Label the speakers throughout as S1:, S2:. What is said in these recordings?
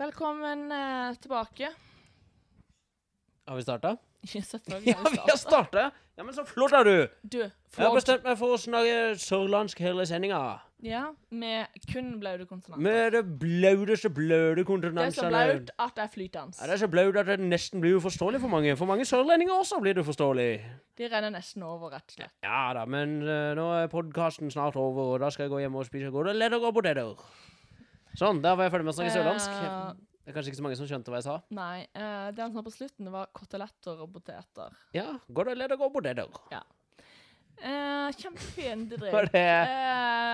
S1: Velkommen eh, tilbake.
S2: Har vi starta?
S1: Selvfølgelig
S2: Ja,
S1: har
S2: vi har
S1: startet.
S2: starta! Ja, men så flott er du!
S1: Du,
S2: Jeg har
S1: Frog.
S2: bestemt meg for å snakke sørlandsk hele sendinga.
S1: Ja, med kun blaude konsonanter.
S2: Med det blauteste bløde
S1: Det er så
S2: kontinentene.
S1: blaut at det er flytende.
S2: Ja, det er så blaut at det nesten blir uforståelig for mange. For mange sørlendinger også blir det uforståelig.
S1: De renner nesten over, rett og slett.
S2: Ja da, men eh, nå er podkasten snart over, og da skal jeg gå hjem og spise gode letter og poteter. Sånn, der var jeg ferdig med å snakke sørlandsk.
S1: Eh,
S2: Det er kanskje ikke så mange som skjønte hva jeg sa.
S1: nei, eh, det han sa på slutten, det var koteletter og poteter.
S2: Ja, gode letter og poteter.
S1: Eh, kjempefin didrik.
S2: Var det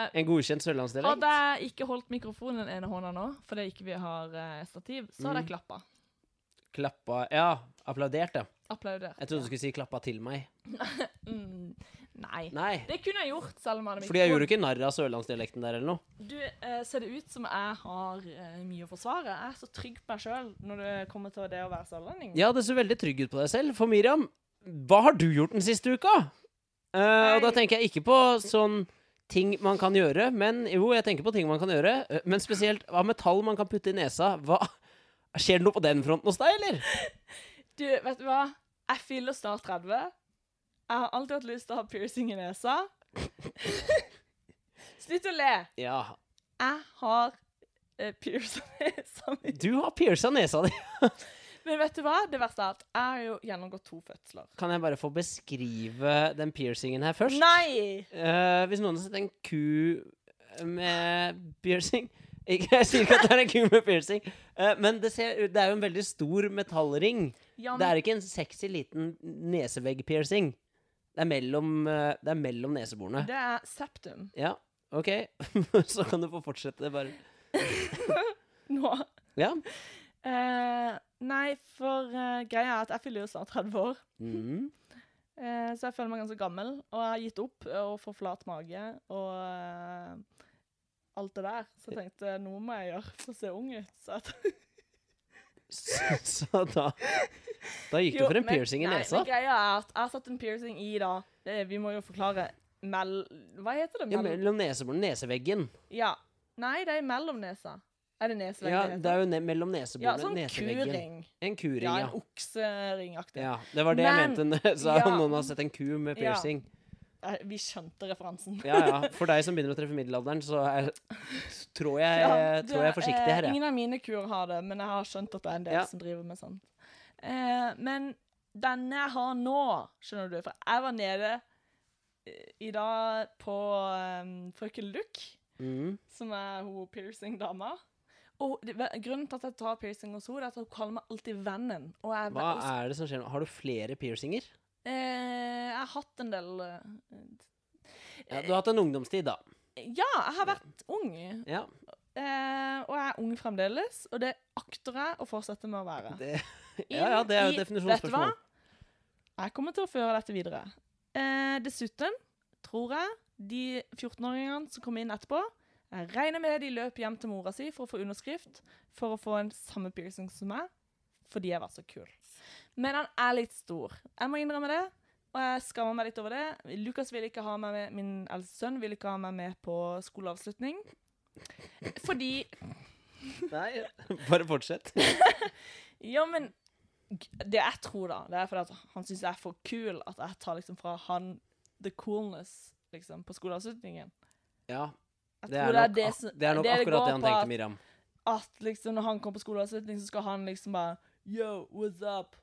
S1: Eh,
S2: en godkjent sørlandsdialekt?
S1: hadde jeg ikke holdt mikrofonen i den ene hånda nå, fordi ikke vi har eh, stativ, så
S2: Mm.
S1: hadde jeg klappa.
S2: Klappa Ja, applauderte.
S1: Applaudert.
S2: Jeg trodde du skulle si 'klappa til meg'.
S1: Mm, nei.
S2: Nei.
S1: Det kunne jeg gjort, selv om jeg hadde
S2: Fordi jeg gjorde ikke narr av sørlandsdialekten der eller noe.
S1: Du, eh, ser det ut som jeg har eh, mye å forsvare? Jeg er så trygg på meg sjøl når det kommer til det å være sørlending.
S2: Ja, det ser veldig trygg ut på deg selv. For Miriam, hva har du gjort den siste uka? Eh, og
S1: Nei.
S2: da tenker jeg ikke på sånn ting man kan gjøre, men jo, jeg tenker på ting man kan gjøre. eh, Men spesielt hva med tall man kan putte i nesa? Hva? Skjer det noe på den fronten hos deg, eller?
S1: Du, vet du hva? Jeg fyller snart 30. Jeg har alltid hatt lyst til å ha piercing i nesa. Slutt å le!
S2: Ja.
S1: Jeg har eh, piercing i nesa mi.
S2: Du har pierca nesa di.
S1: Men vet du hva? Det verste er at jeg har jo gjennomgått to fødsler.
S2: Kan jeg bare få beskrive den piercingen her først?
S1: Nei!
S2: Eh, hvis noen har sett en ku med piercing ikke, Jeg sier ikke at det er en ku med piercing, eh, men det, ser, ut- det er jo en veldig stor metallring.
S1: Ja, men,
S2: Det er ikke en sexy liten nesevegg-piercing. Det er mellom, eh, det er mellom neseborene.
S1: det er septum.
S2: Ja, OK. Så kan du få fortsette, bare.
S1: Nå
S2: Ja.
S1: Eh, nei, for eh, greia er at jeg fyller jo snart 30 år,
S2: Mm.
S1: eh, så jeg føler meg ganske gammel. Og jeg har gitt opp eh, å få flat mage og eh, alt det der. Så jeg tenkte noe må jeg gjøre for å se ung ut. Så at,
S2: Så, så da Da gikk du
S1: Jo,
S2: for en
S1: men-
S2: piercing i
S1: nei,
S2: nesa.
S1: Men greia er at jeg har satt en piercing i da eh, Vi må jo forklare mel... Hva heter det?
S2: Ja,
S1: Mel
S2: mellom neseborene. Neseveggen.
S1: ja. Nei, det er mellom nesa. Er det nesevegg
S2: Ja,
S1: det
S2: det
S1: heter?
S2: er jo ne mellom
S1: Ja,
S2: neseborene.
S1: sånn
S2: neseveggen.
S1: kuring.
S2: En kuring,
S1: Ja,
S2: ja.
S1: en okseringaktig.
S2: Ja, det var det jeg
S1: Men-
S2: mente når jeg sa
S1: ja.
S2: noen har sett en ku med
S1: Ja.
S2: piercing.
S1: Eh, Vi skjønte referansen.
S2: Ja, ja. For deg som begynner å treffe middelalderen, så er, tror, jeg, eh,
S1: Ja, det
S2: tror jeg er forsiktig her, jeg.
S1: Ingen av mine kurer har det, men jeg har skjønt at det er en del
S2: Ja.
S1: som driver med sånt. Eh, men denne jeg har nå, skjønner du, for jeg var nede eh, i dag på um, frøken Luck,
S2: Mm.
S1: som er hun piercing-dama. Og det, ve- grunnen til at jeg tar piercing hos henne, er at hun kaller meg alltid vennen. Og jeg, er
S2: Hva
S1: ve-
S2: er det som skjer nå? Har du flere piercinger?
S1: eh, jeg har hatt en del eh,
S2: Ja, du har hatt en ungdomstid, da.
S1: Ja, jeg har vært ung.
S2: Ja,
S1: Eh, og jeg er ung fremdeles, og det akter jeg å fortsette med å være.
S2: det, ja, ja, det er jo
S1: Inn i-
S2: et
S1: vet du hva?
S2: definisjonsspørsmål.
S1: Jeg kommer til å føre dette videre. Eh, dessuten tror jeg de 14-åringene som kommer inn etterpå Jeg regner med de løp hjem til mora si for å få underskrift for å få en samme piercing som meg, fordi jeg var så kul. Men han er litt stor. Jeg må innrømme det, og jeg skammer meg litt over det. Lukas vil ikke ha meg med, Min eldste sønn vil ikke ha meg med på skoleavslutning. Fordi
S2: Nei, bare fortsett.
S1: Ja, men g- det jeg tror, da, det er fordi at han syns jeg er for kul at jeg tar liksom fra han the coolness liksom, på skoleavslutningen.
S2: Ja,
S1: Jeg
S2: det
S1: tror
S2: er nok, ak- det er nok akkurat det han
S1: går på
S2: tenkte,
S1: at-
S2: Miriam.
S1: At liksom når han kommer på skoleavslutning, så skal han liksom bare Yo, what's up?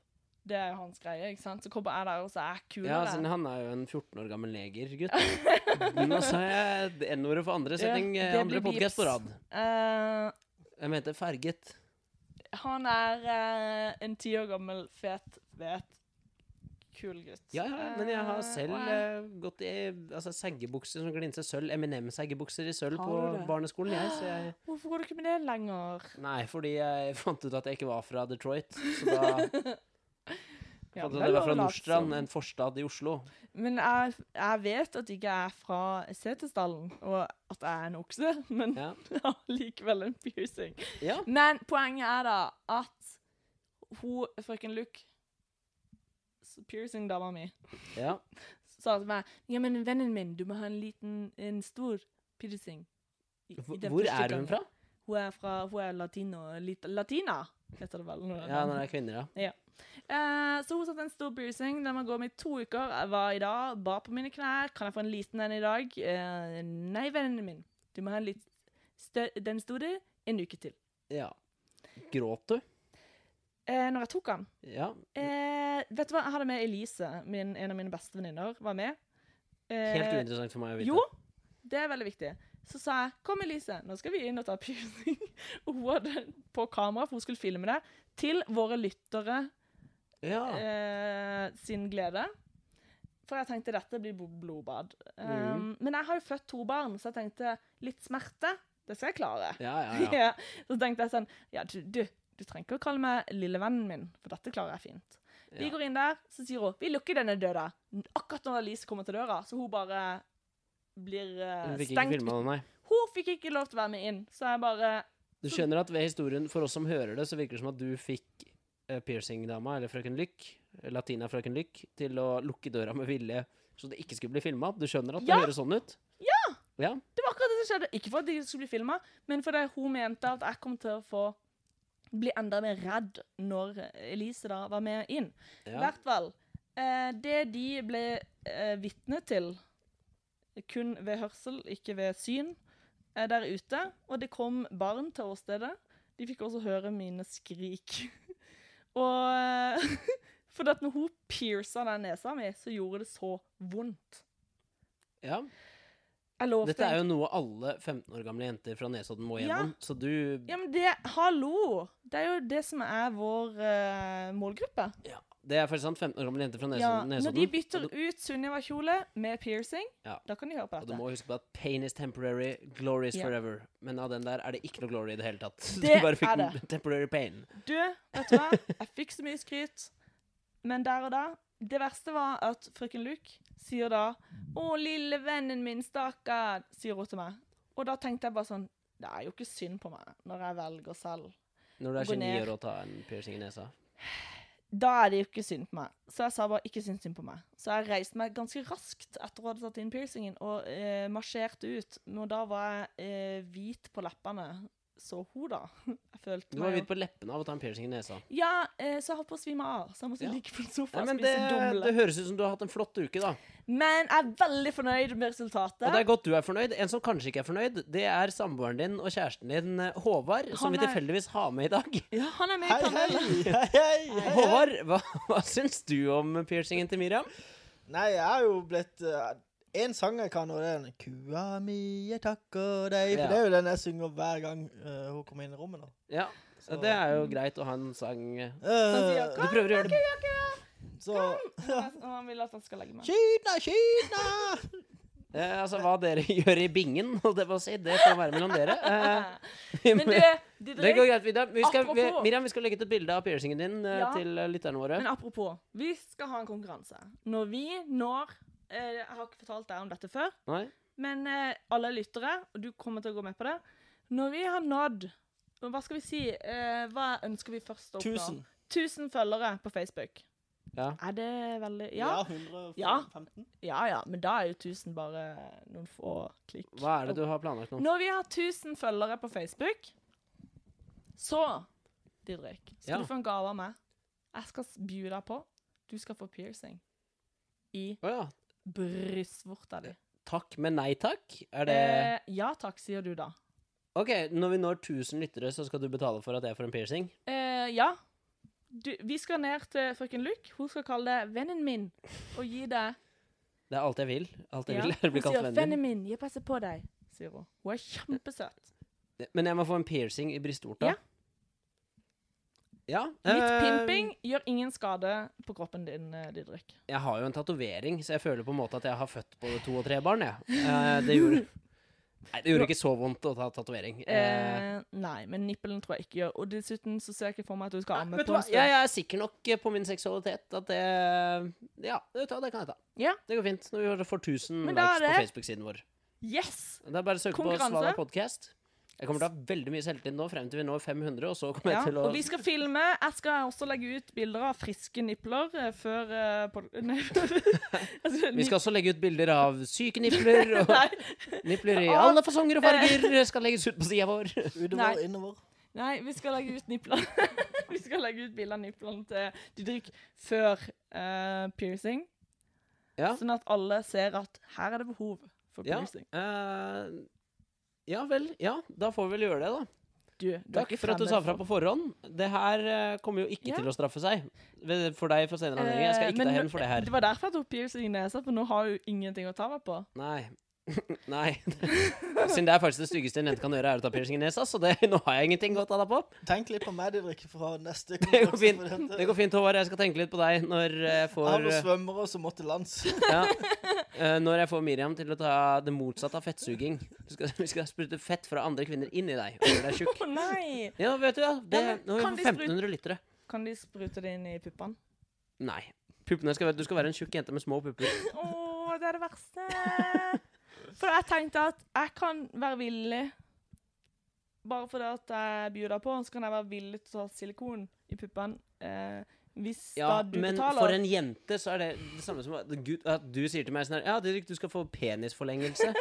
S1: Det er jo hans greie, ikke sant? Så kommer jeg der, og så er jeg kulere.
S2: Ja, siden han er jo en 14 år gammel negergutt. Nå sa jeg det n-ordet for andre setning,
S1: Ja,
S2: eh,
S1: det
S2: andre
S1: blir
S2: podkast på
S1: bips.
S2: rad.
S1: Eh,
S2: Jeg mente farget.
S1: han er eh, en ti år gammel, fet, vet, kul gutt.
S2: Ja, ja, men jeg har
S1: Eh,
S2: selv
S1: og jeg-
S2: eh, gått i altså, seggebukser som glinser sølv. Eminem-seggebukser i sølv
S1: Har
S2: på
S1: du det?
S2: barneskolen. Jeg, så jeg,
S1: Hvorfor går du ikke med det lenger?
S2: nei, fordi jeg fant ut at jeg ikke var fra Detroit. Så da fant
S1: Ja,
S2: jeg ut
S1: vel,
S2: at jeg
S1: lov å
S2: var fra
S1: late
S2: Nordstrand, eh.
S1: som.
S2: en forstad i Oslo.
S1: Men jeg, jeg vet at jeg ikke er fra Setesdalen, og at jeg er en okse, men
S2: Ja.
S1: jeg har likevel en piercing.
S2: ja.
S1: Men poenget er da at hun, frøken Luke, s- piercing-dama mi,
S2: ja.
S1: sa til meg Ja, men vennen min, du må ha en liten, en stor piercing. i- i
S2: Hvor
S1: den
S2: hvor
S1: første
S2: er hun
S1: gangen.»
S2: fra?
S1: Hun er fra Hun er latino lit, Latina, heter det vel.
S2: Ja, når det er kvinner, ja.
S1: Eh, så hun satte en stor bruising. Den var gående i to uker. Jeg var i dag, bar på mine knær. Kan jeg få en liten en i dag? Eh, nei, vennen min. Du må ha en litt stø Den sto det en uke til.
S2: ja. Gråt du?
S1: Eh, når jeg tok den
S2: Ja.
S1: eh, Vet du hva, jeg hadde med Elise, min, en av mine beste venninner, var med. Eh,
S2: Helt uinteressant for meg å vite.
S1: Jo, det er veldig viktig. Så sa jeg 'Kom, Elise, nå skal vi inn og ta piercing'. Og hun hadde på kamera, for hun skulle filme det, til våre lyttere
S2: Ja.
S1: eh, sin glede. For jeg tenkte dette blir bl- blodbad.
S2: Mm.
S1: Um, Men jeg har jo født to barn, så jeg tenkte litt smerte, det skal jeg klare.
S2: Ja, ja, ja.
S1: Ja. Så tenkte jeg sånn Ja, du, du, du trenger ikke å kalle meg lillevennen min, for dette klarer jeg fint. Vi
S2: Ja.
S1: går inn der, så sier hun Vi lukker denne døra. Akkurat når Alice kommer til døra, så hun bare blir eh,
S2: Hun fikk ikke
S1: stengt.
S2: filma det, nei.
S1: Hun fikk ikke lov til å være med inn, så jeg bare
S2: Du skjønner at ved historien, for oss som hører det, så virker det som at du fikk eh, piercingdama, eller frøken Lyck, eh, latina frøken Lyck, til å lukke døra med vilje, så det ikke skulle bli filma. Du skjønner at det
S1: Ja.
S2: høres sånn ut? Ja.
S1: Det var akkurat det som skjedde. Ikke for at de skulle bli filma, men fordi hun mente at jeg kom til å få bli enda mer redd når Elise da var med inn. I
S2: Ja.
S1: hvert fall. Eh, det de ble eh, vitne til, kun ved hørsel, ikke ved syn, eh, der ute. Og det kom barn til åstedet. De fikk også høre mine skrik. og eh, For at når hun pierca den nesa mi, så gjorde det så vondt.
S2: ja.
S1: Jeg lovte
S2: Dette er jo noe alle 15 år gamle jenter fra Nesodden må
S1: Ja.
S2: gjennom, så du
S1: Ja, men det Hallo! Det er jo det som er vår eh, målgruppe.
S2: ja. Det er faktisk sant, 15 år gamle jenter fra
S1: Ja,
S2: Nesodden.
S1: når
S2: Nesodden.
S1: de bytter
S2: og, du,
S1: ut Sunniva kjole med piercing,
S2: Ja.
S1: da kan de høre på
S2: og du
S1: dette.
S2: må huske på at pain is temporary, glory is
S1: Ja.
S2: forever. Men av den der er det ikke noe glory i det hele tatt.
S1: Det
S2: du bare fikk
S1: er
S2: en temporary pain.
S1: Du, vet du hva? Jeg fikk så mye skryt, men der og da Det verste var at frøken Luke sier da 'Å, lille vennen min, stakkar', sier hun til meg. Og da tenkte jeg bare sånn Det er jo ikke synd på meg når jeg velger selv.
S2: Når du er
S1: Gå
S2: 29
S1: ned.
S2: år og tar en piercing i nesa.
S1: Da er det jo ikke synd på meg. Så jeg sa bare 'ikke synd synd på meg'. Så jeg reiste meg ganske raskt etter å ha satt inn piercingen, og eh, marsjerte ut. Og da var jeg eh, hvit på leppene. Så hun, da. Jeg følte
S2: Du var
S1: meg jo-
S2: hvit på leppene av å ta en piercing i nesa.
S1: Ja, eh, så jeg holdt på å svime av. Så jeg måtte
S2: Ja.
S1: ligge på en sofa
S2: Nei,
S1: og
S2: men det,
S1: spise
S2: det
S1: dumle.
S2: høres ut som du har hatt en flott uke, da.
S1: Men jeg er veldig fornøyd med resultatet.
S2: Og det er godt du er fornøyd. En som kanskje ikke er fornøyd, det er samboeren din og kjæresten din, eh, Håvard,
S1: Han
S2: som vi
S1: er-
S2: tilfeldigvis har med i dag.
S1: ja, han er med i panelet.
S3: hei, hei, hei.
S2: Håvard, hva, hva syns du om piercingen til Miriam?
S3: Nei, jeg har jo blitt eh, En sang jeg kan, og det er den Kua mi, jeg takker deg For
S2: Ja.
S3: det er jo den jeg synger hver gang eh, hun kommer inn i rommet. da.
S2: Ja,
S3: Så-
S2: Det er jo greit å ha en sang
S1: Han sier,
S3: Eh,
S2: Du prøver å gjøre det
S3: så
S1: «Kom!» Og han vil at han skal legge meg.
S3: Kina, Kina!
S2: eh, Altså, hva dere gjør i bingen, holdt jeg på å si, det får være mellom dere. Eh, vi-
S1: Men du,
S2: det går
S1: Didrik.
S2: greit, Vidar. Vi skal, vi,
S1: Apropos-
S2: Miriam, vi skal legge ut et bilde av piercingen din eh,
S1: Ja.
S2: til eh, lytterne våre.
S1: Men apropos, vi skal ha en konkurranse. Når vi når eh, Jeg har ikke fortalt deg om dette før,
S2: Nei?
S1: men eh, alle lyttere, og du kommer til å gå med på det Når vi har nådd Hva skal vi si? Eh, hva ønsker vi først å oppnå?
S3: Tusen.
S1: 1000 følgere på Facebook.
S2: Ja.
S1: Er det veldig Ja,
S3: Ja,
S1: Ja.
S3: 115.
S1: ja, ja men da er jo 1000 bare noen få klikk.
S2: Hva er det du har planlagt nå?
S1: Når vi har 1000 følgere på Facebook, så, Didrik, skal
S2: Ja.
S1: du få en gave av meg. Jeg skal s- by deg på. Du skal få piercing i
S2: Å ja.
S1: brystvorta di.
S2: Takk, men nei takk? Er det
S1: Eh, ja takk, sier du da.
S2: Ok, når vi når 1000 lyttere, så skal du betale for at jeg får en piercing?
S1: Eh, ja. Du, vi skal ned til frøken Luke. Hun skal kalle deg vennen min og gi deg
S2: Det er alt jeg vil. Alt jeg
S1: Ja.
S2: vil er å bli
S1: Hun
S2: kalt
S1: sier
S2: vennen
S1: 'vennen
S2: din.
S1: min, jeg passer på deg', sier hun. Hun er kjempesøt.
S2: Men jeg må få en piercing i brystvorta.
S1: Ja.
S2: Ja.
S1: Litt
S2: eh,
S1: pimping gjør ingen skade på kroppen din, eh, Didrik.
S2: Jeg har jo en tatovering, så jeg føler på en måte at jeg har født både to og tre barn, jeg. Eh, det gjorde Nei, det gjorde ikke så vondt å ta tatovering. Eh,
S1: Eh, nei, men nippelen tror jeg ikke gjør. Og dessuten så ser jeg ikke for meg at du skal amme
S2: vet du
S1: på
S2: hva,
S1: en stund.
S2: jeg, jeg er sikker nok eh, på min seksualitet at det Ja, vet du hva, det kan jeg ta.
S1: Ja.
S2: Det går fint. Når vi får 1000
S1: Men da
S2: likes
S1: er
S2: på
S1: det-
S2: Facebook-siden vår.
S1: Yes!
S2: Det er bare å søke på
S1: Konkurranse.
S2: Svala podcast. Jeg kommer til å ha veldig mye selvtillit nå, frem til vi når 500, og så kommer
S1: Ja,
S2: jeg til å
S1: og vi skal filme. Jeg skal også legge ut bilder av friske nipler eh, før eh, pod- Nei. altså,
S2: Vi skal også legge ut bilder av syke nipler, og
S1: Nei.
S2: nipler i
S1: Av-
S2: alle fasonger og farger skal legges ut på sida vår.
S1: Nei.
S3: Utover, innover.
S1: Nei, vi skal legge ut nipler. vi skal legge ut bilder av niplene til Didrik før eh, piercing.
S2: Ja.
S1: Sånn at alle ser at her er det behov for
S2: Ja.
S1: piercing.
S2: Eh, ja vel. Ja, da får vi vel gjøre det, da.
S1: Du, du er
S2: Takk
S1: ikke
S2: for at du
S1: fremmed
S2: sa fra på forhånd. Det her eh, kommer jo ikke
S1: Ja.
S2: til å straffe seg ved- for deg for senere anledninger. Jeg skal
S1: Eh,
S2: ikke
S1: men
S2: ta
S1: nå-
S2: hevn for det her.
S1: Det var derfor jeg tok piercing i nesa, for nå har hun ingenting å ta meg på.
S2: Nei. Nei. Siden det er faktisk det styggeste en jente kan gjøre, er å ta piercing i nesa, så det, nå har jeg ingenting godt av deg på.
S3: Tenk litt på meg, Didrik, fra neste
S2: går fint.
S3: for dette.
S2: Det går fint, Håvard. Jeg skal tenke litt på deg når jeg
S3: Jeg har
S2: får, eh,
S3: noen svømmere som må til lands.
S2: ja, eh, når jeg får Miriam til å ta det motsatte av fettsuging. Vi skal, vi skal sprute fett fra andre kvinner inn i deg og gjøre deg tjukk.
S1: Å nei!
S2: Ja, vet du, ja. Det,
S1: Ja, men
S2: nå har
S1: kan
S2: vi
S1: de
S2: fått
S1: sprute-
S2: 1500 lyttere.
S1: Kan de sprute det inn i puppene?
S2: Nei. Puppene skal være, du skal være en tjukk jente med små pupper.
S1: Å, det er det verste! For jeg tenkte at jeg kan være villig Bare fordi at jeg byr deg på, så kan jeg være villig til å ta silikon i puppene eh, hvis
S2: Ja,
S1: da du
S2: men
S1: betaler.
S2: for en jente så er det det samme som at, Gud, at du sier til meg sånn her Ja, Didrik, du skal få penisforlengelse.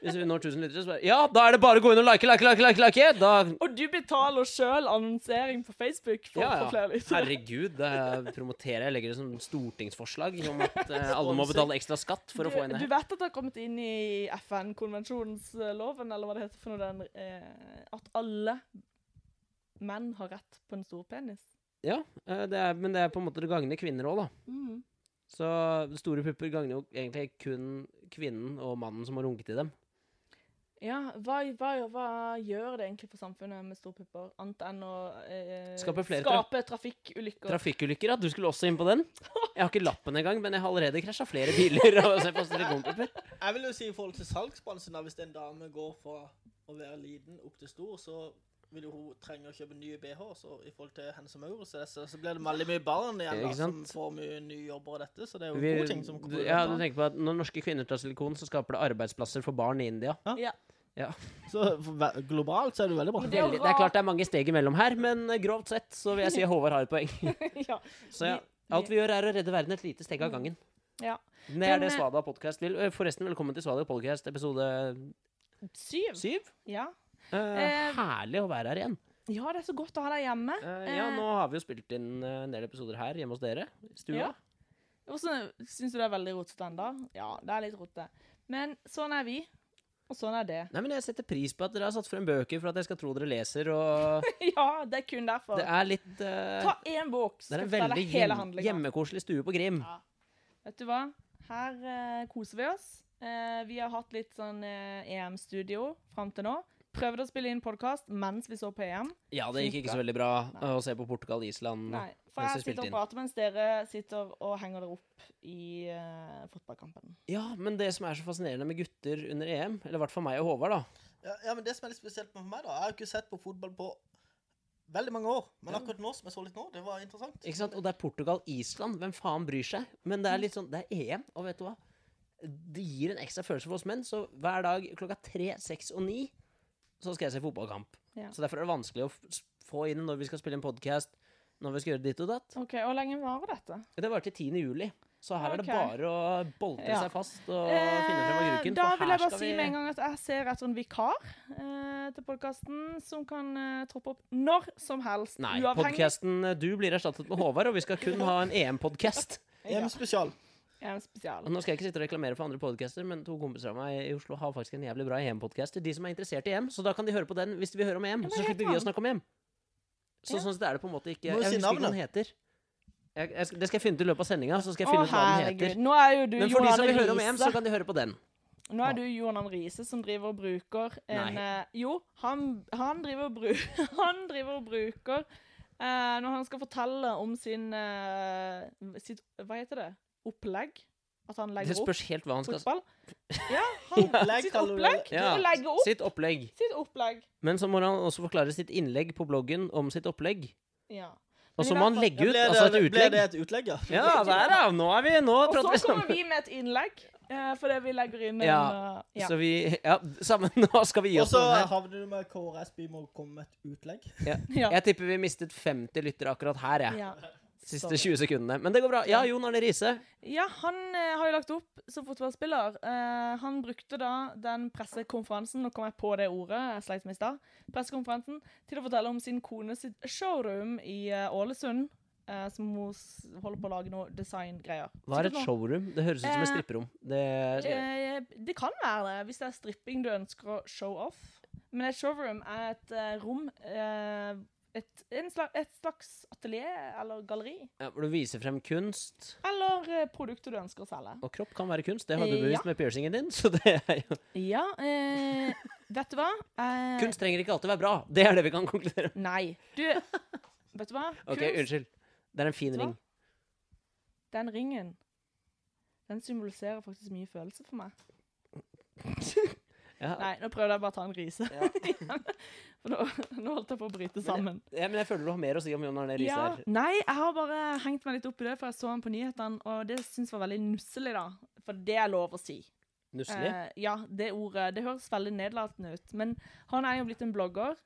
S2: Hvis vi når 1000 lyttere, så bare Ja, da er det bare å gå inn og like, like, like, like, like! Da
S1: Og du betaler sjøl annonsering på Facebook for
S2: Ja,
S1: å
S2: ja.
S1: få flere lyttere.
S2: Herregud, det er- promoterer jeg. Legger det som stortingsforslag om at eh, alle må betale ekstra skatt for å få inn
S1: Du
S2: det. her.
S1: vet at det har kommet inn i FN-konvensjonsloven, eller hva det heter for noe, den, eh, at alle menn har rett på en stor penis?
S2: Ja, eh, det er, men det er på en måte det gagner kvinner òg, da. Så store pupper gagner jo egentlig kun kvinnen og mannen som har runket i dem.
S1: Ja, hva, hva, hva gjør det egentlig for samfunnet med store pupper, annet enn å eh,
S2: Skape flere tra-
S1: skape trafikkulykker?
S2: Trafikkulykker, ja. Du skulle også inn på den. Jeg har ikke lappen engang, men jeg har allerede krasja flere biler av å se på silikonpupper.
S3: Jeg vil jo si i forhold til salgsbransjen, da, hvis en dame går fra å være liten opp til stor, så vil jo hun trenge å kjøpe nye BH, så i forhold til henne som Maurus, så, så blir det veldig mye barn igjen da,
S2: Ikke
S3: som
S2: sant?
S3: får mye nye jobber og dette, så det er jo
S2: Vi,
S3: gode ting som kommer
S2: du-
S3: ut
S2: ja,
S3: av
S2: du
S3: det.
S2: tenker på at Når norske kvinner tar silikon, så skaper det arbeidsplasser for barn i India.
S3: Så for ve- globalt så er det jo veldig bra.
S1: Men
S2: Veldig, det er klart det er mange steg imellom her, men eh, grovt sett så vil jeg si Håvard har et poeng.
S1: ja.
S2: Så ja, alt vi gjør er å redde verden et lite steg av gangen.
S1: Mm. Ja.
S2: Det er
S1: Men,
S2: det
S1: eh,
S2: Svada podcast vil. Eh, Forresten, velkommen til Svada podcast episode
S1: Syv?
S2: syv.
S1: Ja.
S2: Eh,
S1: Eh,
S2: herlig å være her igjen.
S1: ja, det er så godt å ha deg hjemme.
S2: Eh, ja,
S1: eh,
S2: nå har vi jo spilt inn eh, en del episoder her hjemme hos dere. i Stua.
S1: Ja. Hvordan Eh, Syns du det er veldig rotete ennå? Ja, det er litt rotete. Men sånn er vi, og sånn er det.
S2: Nei, men jeg setter pris på at dere har satt frem bøker for at jeg skal tro dere leser, og
S1: ja, det er kun derfor.
S2: det er litt eh,
S1: Ta én bok, så skal
S2: Det er en
S1: du fortelle
S2: veldig
S1: hele
S2: hjem,
S1: handlinga.
S2: hjemmekoselig stue på Grim.
S1: Ja. Vet du hva? Her eh, koser vi oss. Eh, vi har hatt litt sånn eh, EM-studio fram til nå. Prøvde å spille inn podkast mens vi så på EM.
S2: Ja, det gikk ikke så veldig bra eh, å se på Portugal-Island.
S1: Nei, for
S2: mens vi
S1: jeg
S2: spilte
S1: sitter og
S2: inn.
S1: prater mens dere sitter og henger dere opp i eh, fotballkampen.
S2: Ja, men det som er så fascinerende med gutter under EM, eller i hvert fall meg og Håvard, da
S3: Ja, ja, men det som er litt spesielt med meg da, jeg har jo ikke sett på fotball på veldig mange år, men akkurat nå som jeg så litt nå, det var interessant.
S2: ikke sant? Og det er Portugal-Island. Hvem faen bryr seg? Men det er litt sånn, det er EM, og vet du hva? Det gir en ekstra følelse for oss menn, så hver dag klokka tre, seks og ni så skal jeg se fotballkamp.
S1: Ja.
S2: Så derfor er det vanskelig å f- s- få inn når vi skal spille en podkast, når vi skal gjøre ditt og datt.
S1: OK, hvor lenge varer dette?
S2: Det var til 10. juli. Så her er det
S1: Ok.
S2: bare å bolte
S1: Ja.
S2: seg fast
S1: Eh,
S2: og finne frem av gruken.
S1: Da
S2: for
S1: vil
S2: her
S1: jeg bare
S2: skal
S1: si
S2: vi-
S1: med en gang at jeg ser etter en vikar eh, til podkasten som kan eh, troppe opp når som helst.
S2: Nei,
S1: uavhengig.
S2: podkasten Du blir erstattet med Håvard, og vi skal kun ha en EM-podkast.
S1: Ja,
S3: EM-spesial.
S1: jeg er en spesial.
S2: Nå skal jeg ikke sitte og reklamere for andre podcaster, men to kompiser av meg i Oslo har faktisk en jævlig bra EM-podkast. De som er interessert i EM, så da kan de høre på den hvis de vil høre om EM.
S1: men
S2: Så
S1: helt
S2: slipper vi å
S1: faen.
S2: snakke om EM. Så
S1: Ja.
S2: sånn sett er det på en måte ikke Jeg
S3: Må jo
S2: husker
S3: si
S2: ikke hva
S3: navnet.
S2: den heter. Jeg, jeg, skal- det skal jeg finne ut i løpet av sendinga. Så skal jeg
S1: Å,
S2: finne ut hva den
S1: herregud.
S2: heter.
S1: Nå er jo du
S2: Men for
S1: Jon
S2: de som
S1: Arne
S2: vil høre om EM, så
S1: Riise.
S2: kan de høre på den.
S1: Nå er du Jon Arne Riise som driver og bruker en eh, Jo, han, han driver og bruker Han driver og bruker eh, Når han skal fortelle om sin eh, sitt Hva heter det? Opplegg? At han
S2: Det
S1: legger opp
S2: spørs helt hva han skal
S1: fotball? Ja, han,
S3: Opplegg,
S1: sitt
S3: kaller du
S1: opplegg.
S3: det?
S2: Ja,
S1: Legge opp
S2: Sitt opplegg.
S1: sitt opplegg.
S2: Men så må han også forklare sitt innlegg på bloggen om sitt opplegg.
S1: Ja.
S2: Og
S1: i
S2: så må
S1: hvert
S2: han
S1: fall-
S2: legge ut.
S3: ble,
S2: Altså et
S3: det, ble
S2: utlegg.
S3: det et utlegg, ja?
S2: Ja, der, ja. Nå er vi Nå
S1: Og
S2: prater vi
S1: så kommer
S2: sammen.
S1: vi med et innlegg, eh, fordi vi legger inn en
S2: Ja,
S1: eh, ja.
S2: Så vi Ja, sammen. Nå skal vi gi
S3: Og
S2: oss
S3: så
S2: med den her.
S3: havner du med KRS by må komme med et utlegg.
S1: Ja.
S2: Jeg tipper vi mistet 50 lyttere akkurat her, jeg.
S1: Ja. sånn.
S2: Siste
S1: Sorry.
S2: 20 sekundene. Men det går bra. Ja, Jon Arne Riise.
S1: Ja, han eh, har jo lagt opp som fotballspiller. Eh, han brukte da den pressekonferansen, nå kom jeg på det ordet, jeg sleit med i stad, pressekonferansen, til å fortelle om sin kone sitt showroom i eh, Ålesund, eh, som hun s- holder på å lage noe designgreier.
S2: Hva er et
S1: Sikkert noe-
S2: showroom? Det høres ut som
S1: Eh,
S2: et stripperom. Det
S1: Eh, det kan være det, hvis det er stripping du ønsker å show off. Men et showroom er et eh, rom, eh, et, en slags, et slags atelier eller galleri.
S2: ja, Hvor du viser frem kunst.
S1: Eller eh, produkter du ønsker å selge.
S2: Og kropp kan være kunst. Det har du
S1: Eh,
S2: bevist med piercingen din. Så det er jo
S1: Ja, eh, vet du hva? Eh,
S2: Kunst trenger ikke alltid være bra. Det er det vi kan konkludere med.
S1: Nei. Du, vet du hva?
S2: Ok,
S1: Kunst,
S2: unnskyld. Det er en fin
S1: Hva?
S2: ring.
S1: den ringen, den symboliserer faktisk mye følelse for meg.
S2: Ja,
S1: Nei, nå prøvde jeg bare å ta en rise. for nå, nå holdt jeg på å bryte sammen.
S2: Ja, men jeg føler du har mer å si om Jon Arne Riise
S1: Ja,
S2: her.
S1: nei, jeg har bare hengt meg litt opp i det, for jeg så han på nyhetene, og det syns jeg var veldig nusselig, da. For det er lov å si.
S2: Nusselig.
S1: Eh, ja, det ordet. Det høres veldig nedlatende ut. Men han er jo blitt en blogger.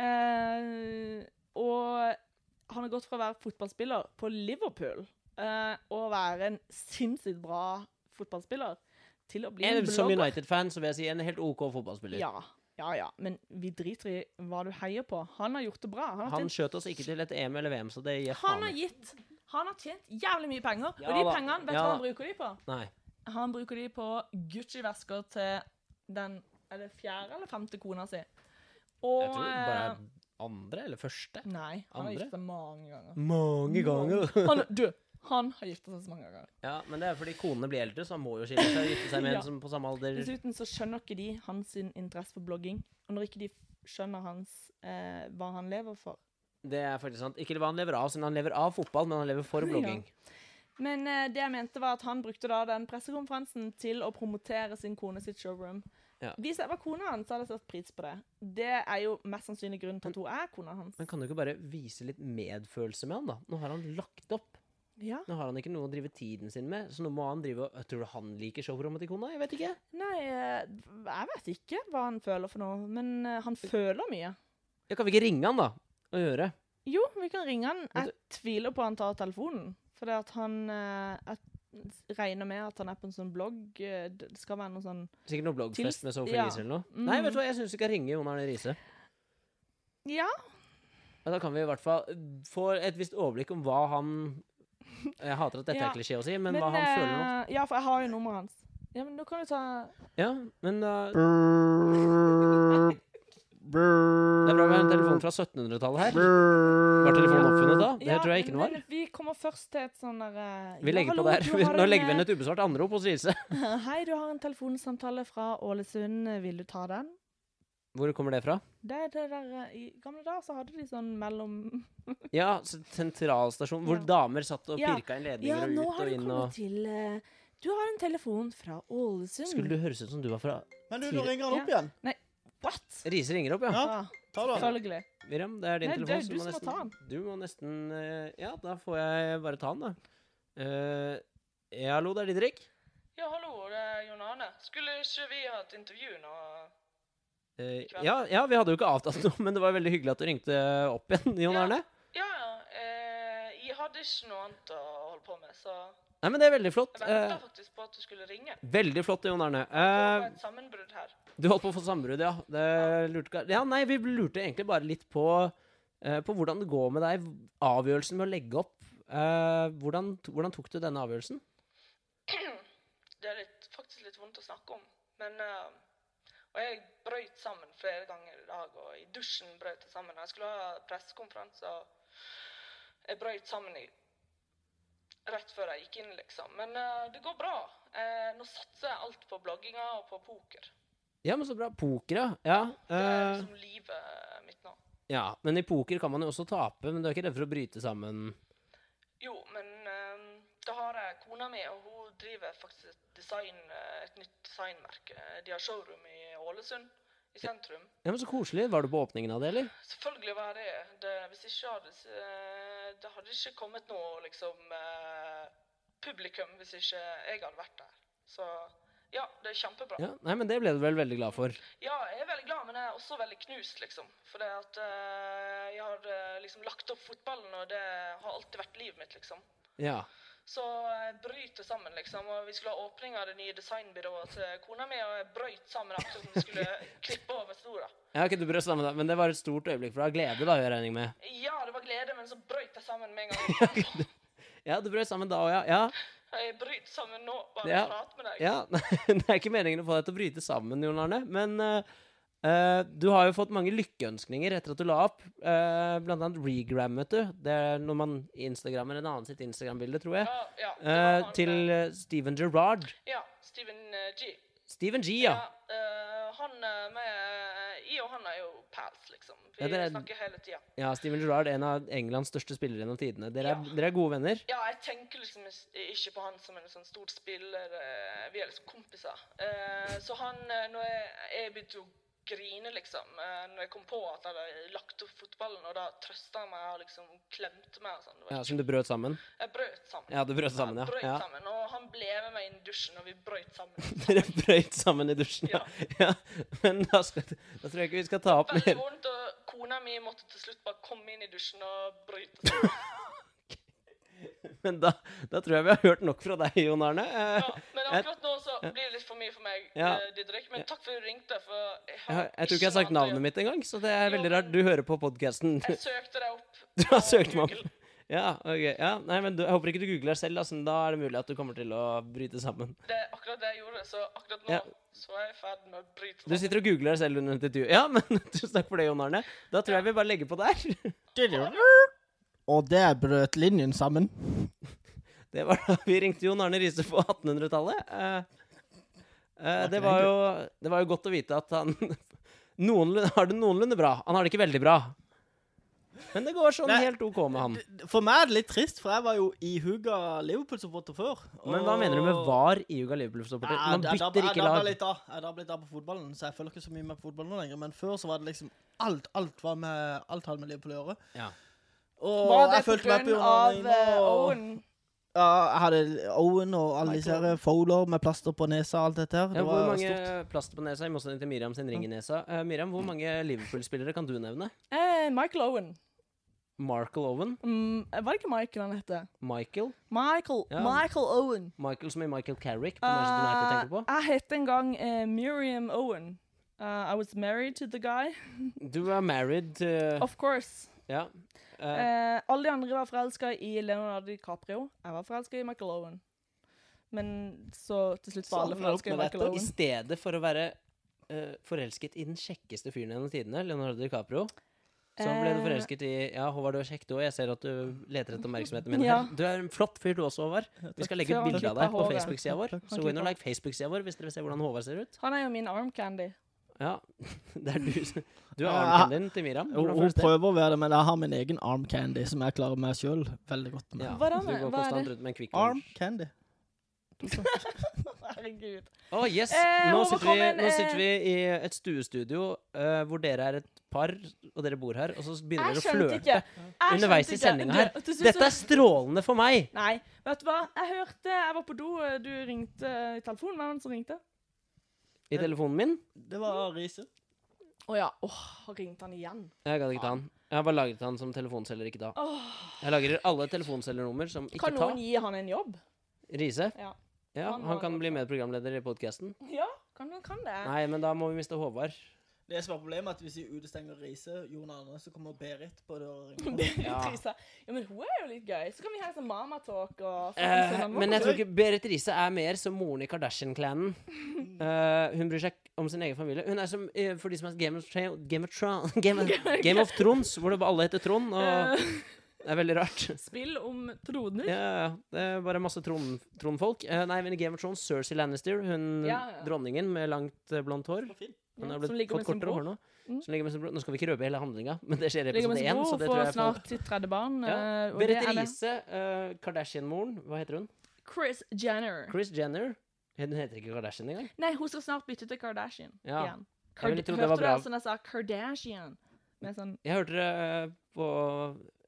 S1: Eh, og han har gått fra å være fotballspiller på Liverpool eh, og være en sinnssykt bra fotballspiller til å bli en
S2: En, som
S1: blogger.
S2: United-fan så vil jeg si en helt OK fotballspiller.
S1: Ja, ja, ja. Men vi driter i hva du heier på. Han har gjort det bra. Han har,
S2: Han
S1: tjent,
S2: skjøt oss ikke til et EM eller VM, så det gir
S1: han
S2: faen
S1: har
S2: i.
S1: gitt Han har tjent jævlig mye penger.
S2: Ja
S1: og de
S2: da,
S1: pengene, vet du
S2: ja
S1: hva
S2: da.
S1: han bruker de på?
S2: Nei.
S1: Han bruker de på Gucci-vesker til den er det fjerde eller femte kona si. Og
S2: Jeg tror det bare
S1: eh,
S2: er andre eller første.
S1: Nei, han har
S2: andre.
S1: gifta seg mange ganger.
S2: Mange ganger.
S1: Han, du, han har gifta seg så mange ganger.
S2: Ja, men det er fordi konene blir eldre, så han må jo skille seg og gifte seg med
S1: Ja.
S2: en som på samme alder.
S1: Dessuten så skjønner ikke de hans sin interesse for blogging. Og når ikke de skjønner hans, eh, hva han lever for.
S2: Det er faktisk sant. Ikke hva han lever av, siden han lever av fotball, men han lever for blogging.
S1: Men eh, det jeg mente var at han brukte da den pressekonferansen til å promotere sin kone sitt showroom.
S2: Ja.
S1: Hvis jeg var kona hans, så hadde jeg satt pris på det. Det er jo mest sannsynlig grunnen til at hun er kona hans.
S2: Men kan du ikke bare vise litt medfølelse med han, da? Nå har han lagt opp.
S1: Ja.
S2: Nå har han ikke noe å drive tiden sin med, så nå må han drive og Jeg Tror du han liker showrommet til kona? Jeg vet ikke.
S1: Nei, eh, jeg vet ikke hva han føler for noe, men eh, han føler mye.
S2: Ja, kan vi ikke ringe han, da? Og gjøre?
S1: Jo, vi kan ringe han.
S2: Men
S1: Jeg tviler på han tar telefonen. For det at han eh, Jeg regner med at han er på en sånn blogg. eh, Det skal være noe sånn
S2: Sikkert noe bloggfest
S1: Tilst-
S2: med Sophie
S1: ja.
S2: Elise eller noe?
S1: Mm.
S2: Nei, vet du hva, jeg syns du skal ringe Jon Arne Riise.
S1: Ja.
S2: Ja, Da kan vi i hvert fall få et visst overblikk om hva han Jeg hater at dette
S1: Ja.
S2: er klisjé å si, men, hva han føler nå.
S1: eh, Ja, for jeg har jo nummeret hans. Ja, men da kan du ta
S2: Ja, men da Det er bra vi har en telefon fra 1700-tallet her. Var telefonen oppfunnet da? Det
S1: ja,
S2: tror jeg ikke den var.
S1: men Vi kommer først til et sånn der eh,
S2: Vi
S1: ja,
S2: legger på
S1: hallo,
S2: der.
S1: du har
S2: Nå
S1: en,
S2: legger vi
S1: eh,
S2: inn et ubesvart anrop hos Riise.
S1: Hei, du har en telefonsamtale fra Ålesund. Vil du ta den?
S2: Hvor kommer det fra?
S1: Det er det der eh, I gamle dager så hadde de sånn mellom
S2: Ja, s- sentralstasjon, hvor
S1: Ja.
S2: damer satt og
S1: Ja.
S2: pirka inn
S1: Ja,
S2: ledninger
S1: nå
S2: og ut
S1: har
S2: og
S1: du
S2: inn
S1: kommet
S2: og
S1: til eh, Du har en telefon fra Ålesund.
S2: Skulle du høres ut som du var fra
S3: Men du, nå ringer han opp igjen.
S1: What?
S2: Riise ringer opp, ja.
S3: Ja.
S1: Ja,
S3: Ta det. han.
S1: Ah, selvfølgelig.
S2: Miriam, det er din
S1: Nei, det er
S2: telefon.
S1: jo
S2: så
S1: du
S2: må
S1: som må
S2: nesten,
S1: ta den.
S2: Du må nesten eh, Ja, da får jeg bare ta den, da. Eh, ja, hallo, det er Didrik.
S1: Ja, hallo, det er Jon Arne. Skulle ikke vi ha et intervju nå?
S2: Eh,
S1: kveld.
S2: ja, ja, vi hadde jo ikke avtalt noe, men det var veldig hyggelig at du ringte opp igjen, Jon
S1: Ja.
S2: Arne.
S1: Ja, ja. Eh, jeg hadde ikke noe annet å holde på med, så
S2: Nei, men det er veldig flott.
S1: jeg venta
S2: Eh,
S1: faktisk på at du skulle ringe.
S2: veldig flott, Jon Arne.
S1: Det
S2: Eh,
S1: var et sammenbrudd her.
S2: Du holdt på å få sambrudd, ja. Det lurte ikke Ja, nei, vi lurte egentlig bare litt på eh, På hvordan det går med deg. Avgjørelsen med å legge opp. Eh, hvordan, hvordan tok du denne avgjørelsen?
S1: Det er litt, faktisk litt vondt å snakke om, men eh, Og jeg brøyt sammen flere ganger i dag, og i dusjen brøyt jeg sammen. Jeg skulle ha pressekonferanse, og jeg brøyt sammen i rett før jeg gikk inn, liksom. Men eh, det går bra. Eh, nå satser jeg alt på blogginga og på poker.
S2: Ja, men så bra. Poker, ja. Ja,
S1: Det er
S2: eh,
S1: liksom livet mitt nå.
S2: ja. Men i poker kan man jo også tape, men du er ikke redd for å bryte sammen?
S1: Jo, men eh, da har jeg kona mi, og hun driver faktisk et design, eh, et nytt designmerke. De har showroom i Ålesund. i sentrum.
S2: Ja, men Så koselig. Var du på åpningen av det, eller?
S1: Selvfølgelig var det det. Hvis ikke hadde s- eh, det hadde ikke kommet noe liksom, eh, publikum hvis ikke jeg hadde vært der. Så ja, det er kjempebra.
S2: Ja, Nei, men det ble du vel veldig glad for.
S1: Ja, jeg er veldig glad, men jeg er også veldig knust, liksom. For det at eh, jeg har eh, liksom lagt opp fotballen, og det har alltid vært livet mitt, liksom.
S2: Ja.
S1: Så jeg bryter sammen, liksom. Og vi skulle ha åpning av det nye designbyrået til kona mi, og jeg brøyt sammen akkurat som hun skulle klippe over stora.
S2: Ja, ok, du brøt sammen da, Men det var et stort øyeblikk for deg. Glede, da, gjør jeg regning med.
S1: Ja, det var glede, men så brøyt jeg sammen med en gang.
S2: Ja, du brøt sammen da òg, ja. Ja,
S1: Jeg bryter sammen nå, bare
S2: Ja.
S1: prat med deg.
S2: ja. Det er ikke meningen å få deg til å bryte sammen, Jon Arne. Men eh, eh, du har jo fått mange lykkeønskninger etter at du la opp. Eh, blant annet regrammet du. Det er når man instagrammer en annen sitt Instagram-bilde, tror jeg.
S1: Ja, ja, det
S2: Eh,
S1: var han,
S2: til
S1: eh,
S2: eh, Steven Gerrard.
S1: Ja, Steven eh, G.
S2: Steven G, ja.
S1: eh, han eh, med I og han er jo pals, liksom. Vi
S2: Ja, dere er-
S1: snakker hele tida.
S2: Ja, Steven Gerrard, en av Englands største spillere gjennom tidene. Dere er,
S1: Ja.
S2: dere er gode venner.
S1: Ja, jeg tenker liksom ikke på han som en sånn stor spiller. eh, Vi er liksom kompiser. Eh, Så han eh, Når jeg, jeg begynte å grine, liksom, eh, når jeg kom på at jeg hadde lagt opp fotballen, og da trøsta han meg og liksom klemte meg og sånn. Det
S2: Ja,
S1: var-
S2: Som du brøt sammen.
S1: Jeg brøt sammen.
S2: Ja, du brøt sammen,
S1: Jeg
S2: ja.
S1: brøt
S2: ja.
S1: sammen, Og han ble med meg inn i dusjen, og vi brøt sammen.
S2: Dere brøyt sammen i dusjen, ja. ja. Men da, skal, da tror jeg ikke vi skal ta opp
S1: Veldig
S2: mer.
S1: vondt, og kona mi måtte til slutt bare komme inn i dusjen og bryte sammen.
S2: Men da, da tror jeg vi har hørt nok fra deg, Jon Arne. Eh,
S1: Ja, men akkurat nå så blir det litt for mye for meg,
S2: Ja.
S1: eh, Didrik. Men takk for at du ringte, for jeg
S2: Jeg,
S1: har
S2: har- jeg tror ikke jeg har sagt navnet mitt engang, så det er
S1: Jo,
S2: veldig rart. Du hører på podkasten.
S1: Jeg søkte deg opp.
S2: Du har
S1: på
S2: søkt meg
S1: Google.
S2: opp. Ja, ok. Ja, nei, men du, jeg håper ikke du googler selv, altså. Da er det mulig at du kommer til å bryte sammen.
S1: Det er akkurat det jeg gjorde, så akkurat nå
S2: Ja.
S1: så er jeg i ferd med å bryte
S2: Du sitter og googler selv under et intervju. Ja, men tusen takk for det, Jon Arne. Da tror jeg vi bare legger på der.
S3: Og der brøt linjen sammen.
S2: Det var da vi ringte Jon Arne Riise på 1800-tallet. Eh, eh, det, var jo, det var jo godt å vite at han noenlunde, har det noenlunde bra. Han har det ikke veldig bra. Men det går sånn
S3: Nei.
S2: helt OK med han.
S3: For meg er det litt trist, for jeg var jo ihuga Liverpool-supporter før.
S2: Men hva mener du med var i Juga Liverpool-supporter? Man bytter ikke
S3: Jeg dabba
S2: lag.
S3: litt av Jeg dabba litt av på fotballen, så jeg følger ikke så mye med på fotballen nå lenger. Men før så var det liksom Alt alt var med Alt hadde med Liverpool å gjøre.
S2: Ja.
S3: Og
S1: Var det
S3: jeg følte
S1: pga.
S3: meg på Jon
S1: av
S3: Arne
S1: eh,
S3: Riise og-
S1: Owen?
S3: Ja, jeg hadde Owen og alle disse her Fowler med plaster på nesa og alt dette her.
S2: Ja,
S3: Det
S2: hvor
S3: var
S2: mange
S3: stort.
S2: plaster på nesa, i motsetning til Miriam sin ring i nesa. Eh, Miriam, hvor mange Liverpool-spillere kan du nevne?
S1: Eh, Michael Owen. Mm,
S2: Markel Owen?
S1: var det ikke Michael han heter?
S2: Michael?
S1: Michael,
S2: Ja.
S1: Michael Owen.
S2: Michael som i Michael Carrick på Manchester United, tenker du på?
S1: jeg het en gang eh, Miriam Owen. Uh, I was married to the guy.
S3: Ah.
S2: Du er married eh,
S1: Of course.
S2: Ja. Eh,
S1: Eh, alle de andre var forelska i Leonardo DiCaprio. Jeg var forelska i Michael Owen. Men så til slutt
S3: Så
S1: var alle
S3: ender det opp
S1: forelska i
S3: med
S1: Michael
S3: dette.
S2: I
S1: Owen.
S2: stedet for å være eh, forelsket i den kjekkeste fyren gjennom tidene, Leonardo DiCaprio, så ble du
S1: Eh.
S2: forelsket i Ja, Håvard, du er kjekk, du òg. Jeg ser at du leter etter oppmerksomheten min.
S1: Ja.
S2: her. Du er en flott fyr, du også, Håvard. Vi skal legge ut
S1: Før han
S2: bilde av
S1: klipper
S2: deg på
S1: håret.
S2: Facebook-sida vår.
S1: Han
S2: Så gå inn og
S1: klipper.
S2: like Facebook-sida vår hvis dere vil se hvordan Håvard ser ut.
S1: Han er jo min arm candy.
S2: Ja, det er du som Du er
S3: Ja.
S1: Ah.
S2: armen din til Miriam.
S3: Hun,
S2: Hvordan
S3: hun
S2: føles det?
S3: prøver å være det, men jeg har min egen arm candy, som jeg klarer meg sjøl veldig godt med.
S2: Ja,
S1: Hva er det
S2: du
S1: med-
S2: går
S1: hva er
S2: konstant
S1: det?
S2: rundt med en Quick
S3: Arm
S2: Lunch.
S3: candy.
S1: Herregud.
S2: Å, yes!
S1: Eh,
S2: nå,
S1: Håvard,
S2: sitter
S1: kom
S2: vi,
S1: igjen,
S2: nå
S1: eh.
S2: sitter vi i et stuestudio eh, hvor dere er et par, og dere bor her, og så begynner
S1: Jeg
S2: dere å flørte.
S1: skjønte ikke. Jeg
S2: underveis
S1: skjønte
S2: i
S1: ikke.
S2: sendinga her.
S1: Du- til slutt
S2: Dette er
S1: så-
S2: strålende for meg!
S1: Nei, vet du hva? Jeg hørte Jeg var på do, eh, du ringte i telefonen. Hvem var det som ringte?
S2: I telefonen min.
S3: Det var Riise.
S1: Å ja. Åh, har ringt han igjen?
S2: Jeg gadd ikke ta den. Jeg har bare lagret han som telefonselger ikke ta.
S1: Åh,
S2: Jeg lagrer alle telefonselgernummer som ikke
S1: kan
S2: ta.
S1: noen gi han en jobb?
S2: Riise.
S1: Ja.
S2: Ja,
S1: Han
S2: han
S1: var
S2: kan
S1: det
S2: bli medprogramleder i podkasten.
S1: Ja, kan, han kan det.
S2: Nei, men da må vi miste Håvard.
S3: Det som er problemet, er at hvis vi utestenger Riise, Jon Arne, så kommer Berit på døra og ringer.
S1: Berit
S2: Ja.
S1: Riise. Ja, men hun er jo litt gøy. Så kan vi ha sånn mamatalk og sånn
S2: Eh, men jeg
S3: det?
S2: tror ikke Berit Riise er mer som moren i Kardashian-klanen. Eh, hun bryr seg om sin egen familie. Hun er som eh, for de som har sett Game of, Tra Game of, Tra Game of, Game of Thrones, hvor det bare alle heter Trond. Og
S1: Eh,
S2: det er veldig rart.
S1: Spill om troner.
S2: Ja, ja, ja. det er bare masse tron- tronfolk. Eh, nei, men i Game of Thrones, Cersei Lannister, hun
S1: Ja, ja.
S2: dronningen med langt eh, blondt hår
S3: Fint.
S2: Hun
S1: Ja,
S2: har
S1: som
S2: blitt,
S1: ligger
S2: fått
S1: med sin
S2: kortere hår nå.
S1: Mm.
S2: Som ligger med sin bror. Nå skal vi ikke røpe hele handlinga, men det skjer i
S1: Ligger med
S2: episode
S1: sin
S2: én.
S1: bror,
S2: Så det tror
S1: får
S2: jeg folk
S1: snart sitt tredje barn.
S2: Ja.
S1: eh, og det
S2: Berit
S1: er det.
S2: Riise, eh, Kardashian-moren, hva heter hun?
S1: Chris Jenner.
S2: Chris Jenner. Hun heter ikke Kardashian engang.
S1: Nei, hun skal snart bytte til Kardashian
S2: Ja.
S1: igjen.
S2: Jeg ville
S4: Kard-
S2: trodd det
S4: Hørte
S2: var
S4: du
S2: bra.
S4: altså når jeg sa Kardashian? Med sånn
S2: Jeg hørte det eh, på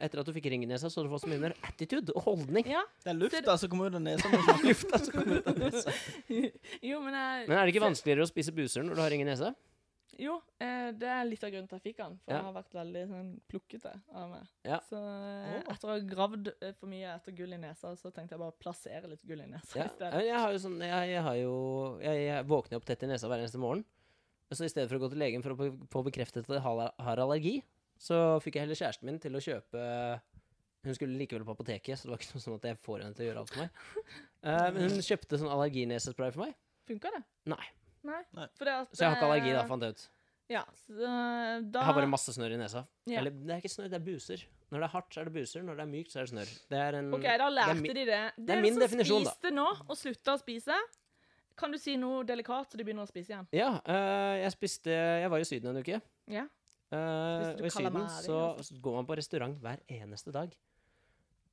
S2: Etter at du fikk ringenesa, så hadde du fått så mye mer attitude og holdning.
S4: Ja.
S3: Det er
S4: Ser-
S3: lufta som kommer ut av nesa.
S2: Lufta som kommer ut av nesa.
S4: Jo, men jeg
S2: Men er det ikke vanskeligere å spise buser når du har ingen nese?
S4: Jo, eh, det er litt av grunnen til at jeg fikk den. For
S2: Ja.
S4: jeg har vært veldig sånn, plukkete av meg.
S2: Ja.
S4: Så eh,
S2: Åh.
S4: etter å ha gravd eh, for mye etter gull i nesa, så tenkte jeg bare å plassere litt gull i nesa
S2: Ja.
S4: i stedet.
S2: men Jeg har jo sånn Jeg, jeg har jo jeg, jeg våkner opp tett i nesa hver eneste morgen. Så i stedet for å gå til legen for å be- få bekreftet at jeg har har allergi, så fikk jeg heller kjæresten min til å kjøpe Hun skulle likevel på apoteket, så det var ikke noe sånn at jeg får henne til å gjøre alt for meg. Eh, men hun kjøpte sånn allerginesespray for meg.
S4: Funka det?
S2: Nei.
S4: Nei.
S3: Nei.
S4: For det at,
S2: Så jeg har ikke allergi, da,
S4: eh,
S2: fant jeg ut.
S4: Ja, så, eh, da
S2: Jeg har bare masse snørr i nesa.
S4: Ja.
S2: Eller det er ikke snørr, det er buser. Når det er hardt, så er det buser. Når det er mykt, så er det snørr. Det er en
S4: OK, da
S2: det er
S4: lærte
S2: mi-
S4: de det. Dere
S2: min
S4: som
S2: definisjon, da.
S4: spiste nå, og slutta å spise, kan du si noe delikat, så de begynner å spise igjen?
S2: Ja, eh, jeg spiste Jeg var i Syden en uke.
S4: Ja.
S2: Eh,
S4: Spiste du
S2: og i Syden
S4: calamari,
S2: så, så
S4: altså?
S2: går man på restaurant hver eneste dag.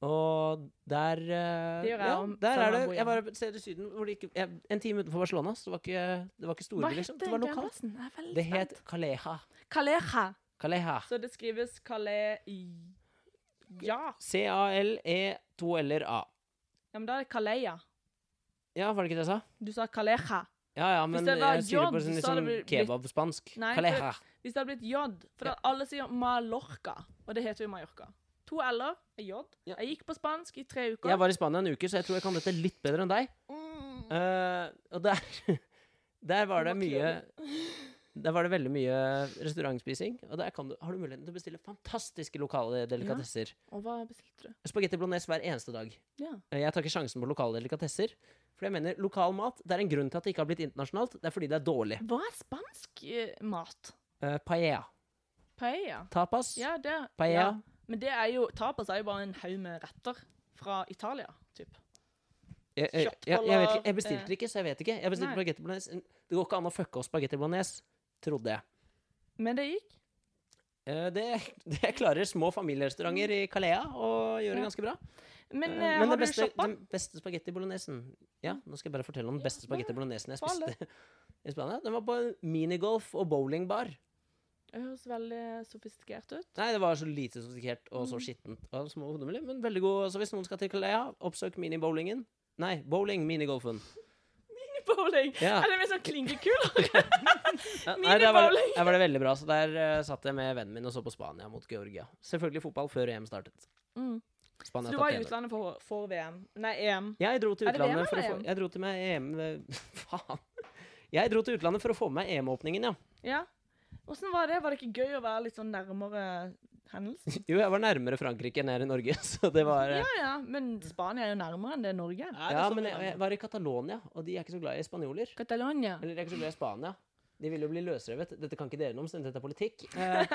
S2: Og der eh,
S4: Det gjør jeg
S2: ja,
S4: om-
S2: der
S4: selv
S2: er
S4: om
S2: det,
S4: jeg bor
S2: Jeg var
S4: hjemme.
S2: et sted i Syden hvor det ikke jeg, En time utenfor Barcelona, så det var ikke, det var ikke storby, liksom. Det var lokalt.
S4: plassen? Jeg er veldig
S2: Det
S4: spent.
S2: het Kaleha.
S4: Kaleja.
S2: Kaleha.
S4: Så det skrives kale... Ja.
S2: E C-a-l-e-2-l-r-a.
S4: ja, men da er det kaleja.
S2: Ja, var det ikke det jeg sa?
S4: Du sa kaleja.
S2: Ja, ja, men
S4: det var
S2: jeg sier det på
S4: jodd,
S2: sånn, litt
S4: så hadde
S2: sånn
S4: det blitt-
S2: kebabspansk.
S4: Nei, for-
S2: Kaleha.
S4: Hvis det hadde blitt J, for da alle sier Mallorca, og det heter jo Mallorca. To L-er er J.
S2: Ja.
S4: Jeg gikk på spansk i tre uker.
S2: Jeg var i Spania en uke, så jeg tror jeg kan dette litt bedre enn deg.
S4: Mm.
S2: Eh, og der, der var det
S4: Du må
S2: mye Der var det veldig mye restaurantspising. Og der kan du, har du muligheten til å bestille fantastiske lokale delikatesser.
S4: Og hva bestilte du?
S2: Spagetti bolognese hver eneste dag.
S4: Ja.
S2: Eh, Jeg tar ikke sjansen på lokale delikatesser. For jeg mener, lokal mat det er en grunn til at det ikke har blitt internasjonalt. Det er fordi det er dårlig.
S4: Hva er spansk eh, mat?
S2: Eh, paella.
S4: Paella?
S2: Tapas.
S4: Ja, det.
S2: Paella.
S4: Ja. Men det er jo, tapas er jo bare en haug med retter fra Italia, typ.
S2: Jeg, jeg, jeg, jeg, vet ikke, jeg bestilte det ikke, så jeg vet ikke. Jeg bestilte
S4: Nei.
S2: spagetti bolognese. Det går ikke an å fucke opp spagetti bolognese, trodde jeg.
S4: Men det gikk.
S2: Eh, Det, det klarer små familierestauranter i Kalea å gjøre
S4: Ja.
S2: ganske bra.
S4: Men,
S2: Eh,
S4: eh,
S2: Men
S4: har
S2: den
S4: du
S2: beste,
S4: shoppa?
S2: den beste spagetti bolognesen Ja, nå skal jeg bare fortelle om den beste spagetti bolognesen jeg
S4: ta alle.
S2: spiste i Spania. Den var på en minigolf- og bowlingbar.
S4: Det høres veldig sofistikert ut.
S2: Nei, det var så lite sofistikert og
S4: Mm.
S2: så skittent og små hodemulig, men veldig god. Så hvis noen skal til Kalea, oppsøk minibowlingen. Nei, bowling, minigolfen.
S4: Bowling!
S2: Ja.
S4: Eller med sånn klinkekuler.
S2: Ja, Nei, der var, det,
S4: Minibowling.
S2: der var det veldig bra, så der eh, satt jeg med vennen min og så på Spania mot Georgia. Selvfølgelig fotball før EM startet.
S4: Mm. Så
S2: Spania
S4: du var i
S2: tapte 1-0.
S4: utlandet for, for VM? Nei, E EM.
S2: Jeg dro til
S4: Er det VM
S2: utlandet for å få
S4: eller EM?
S2: Jeg dro til meg EM Faen. Jeg dro til utlandet for å få med meg EM-åpningen, ja.
S4: Ja. Åssen var det? Var det ikke gøy å være litt sånn nærmere hendelsen?
S2: Jo, jeg var nærmere Frankrike enn jeg er i Norge, så det var eh,
S4: Ja, ja, men Spania er jo nærmere enn det er Norge.
S3: Er sånn det
S2: Ja,
S3: så
S2: men
S3: mye
S2: jeg, jeg var i Catalonia, og de er ikke så glad i spanjoler.
S4: Catalonia.
S2: Eller de er ikke så glad i Spania. De vil jo bli løsrevet. Dette kan ikke dere noe om, siden dette er politikk. Eh,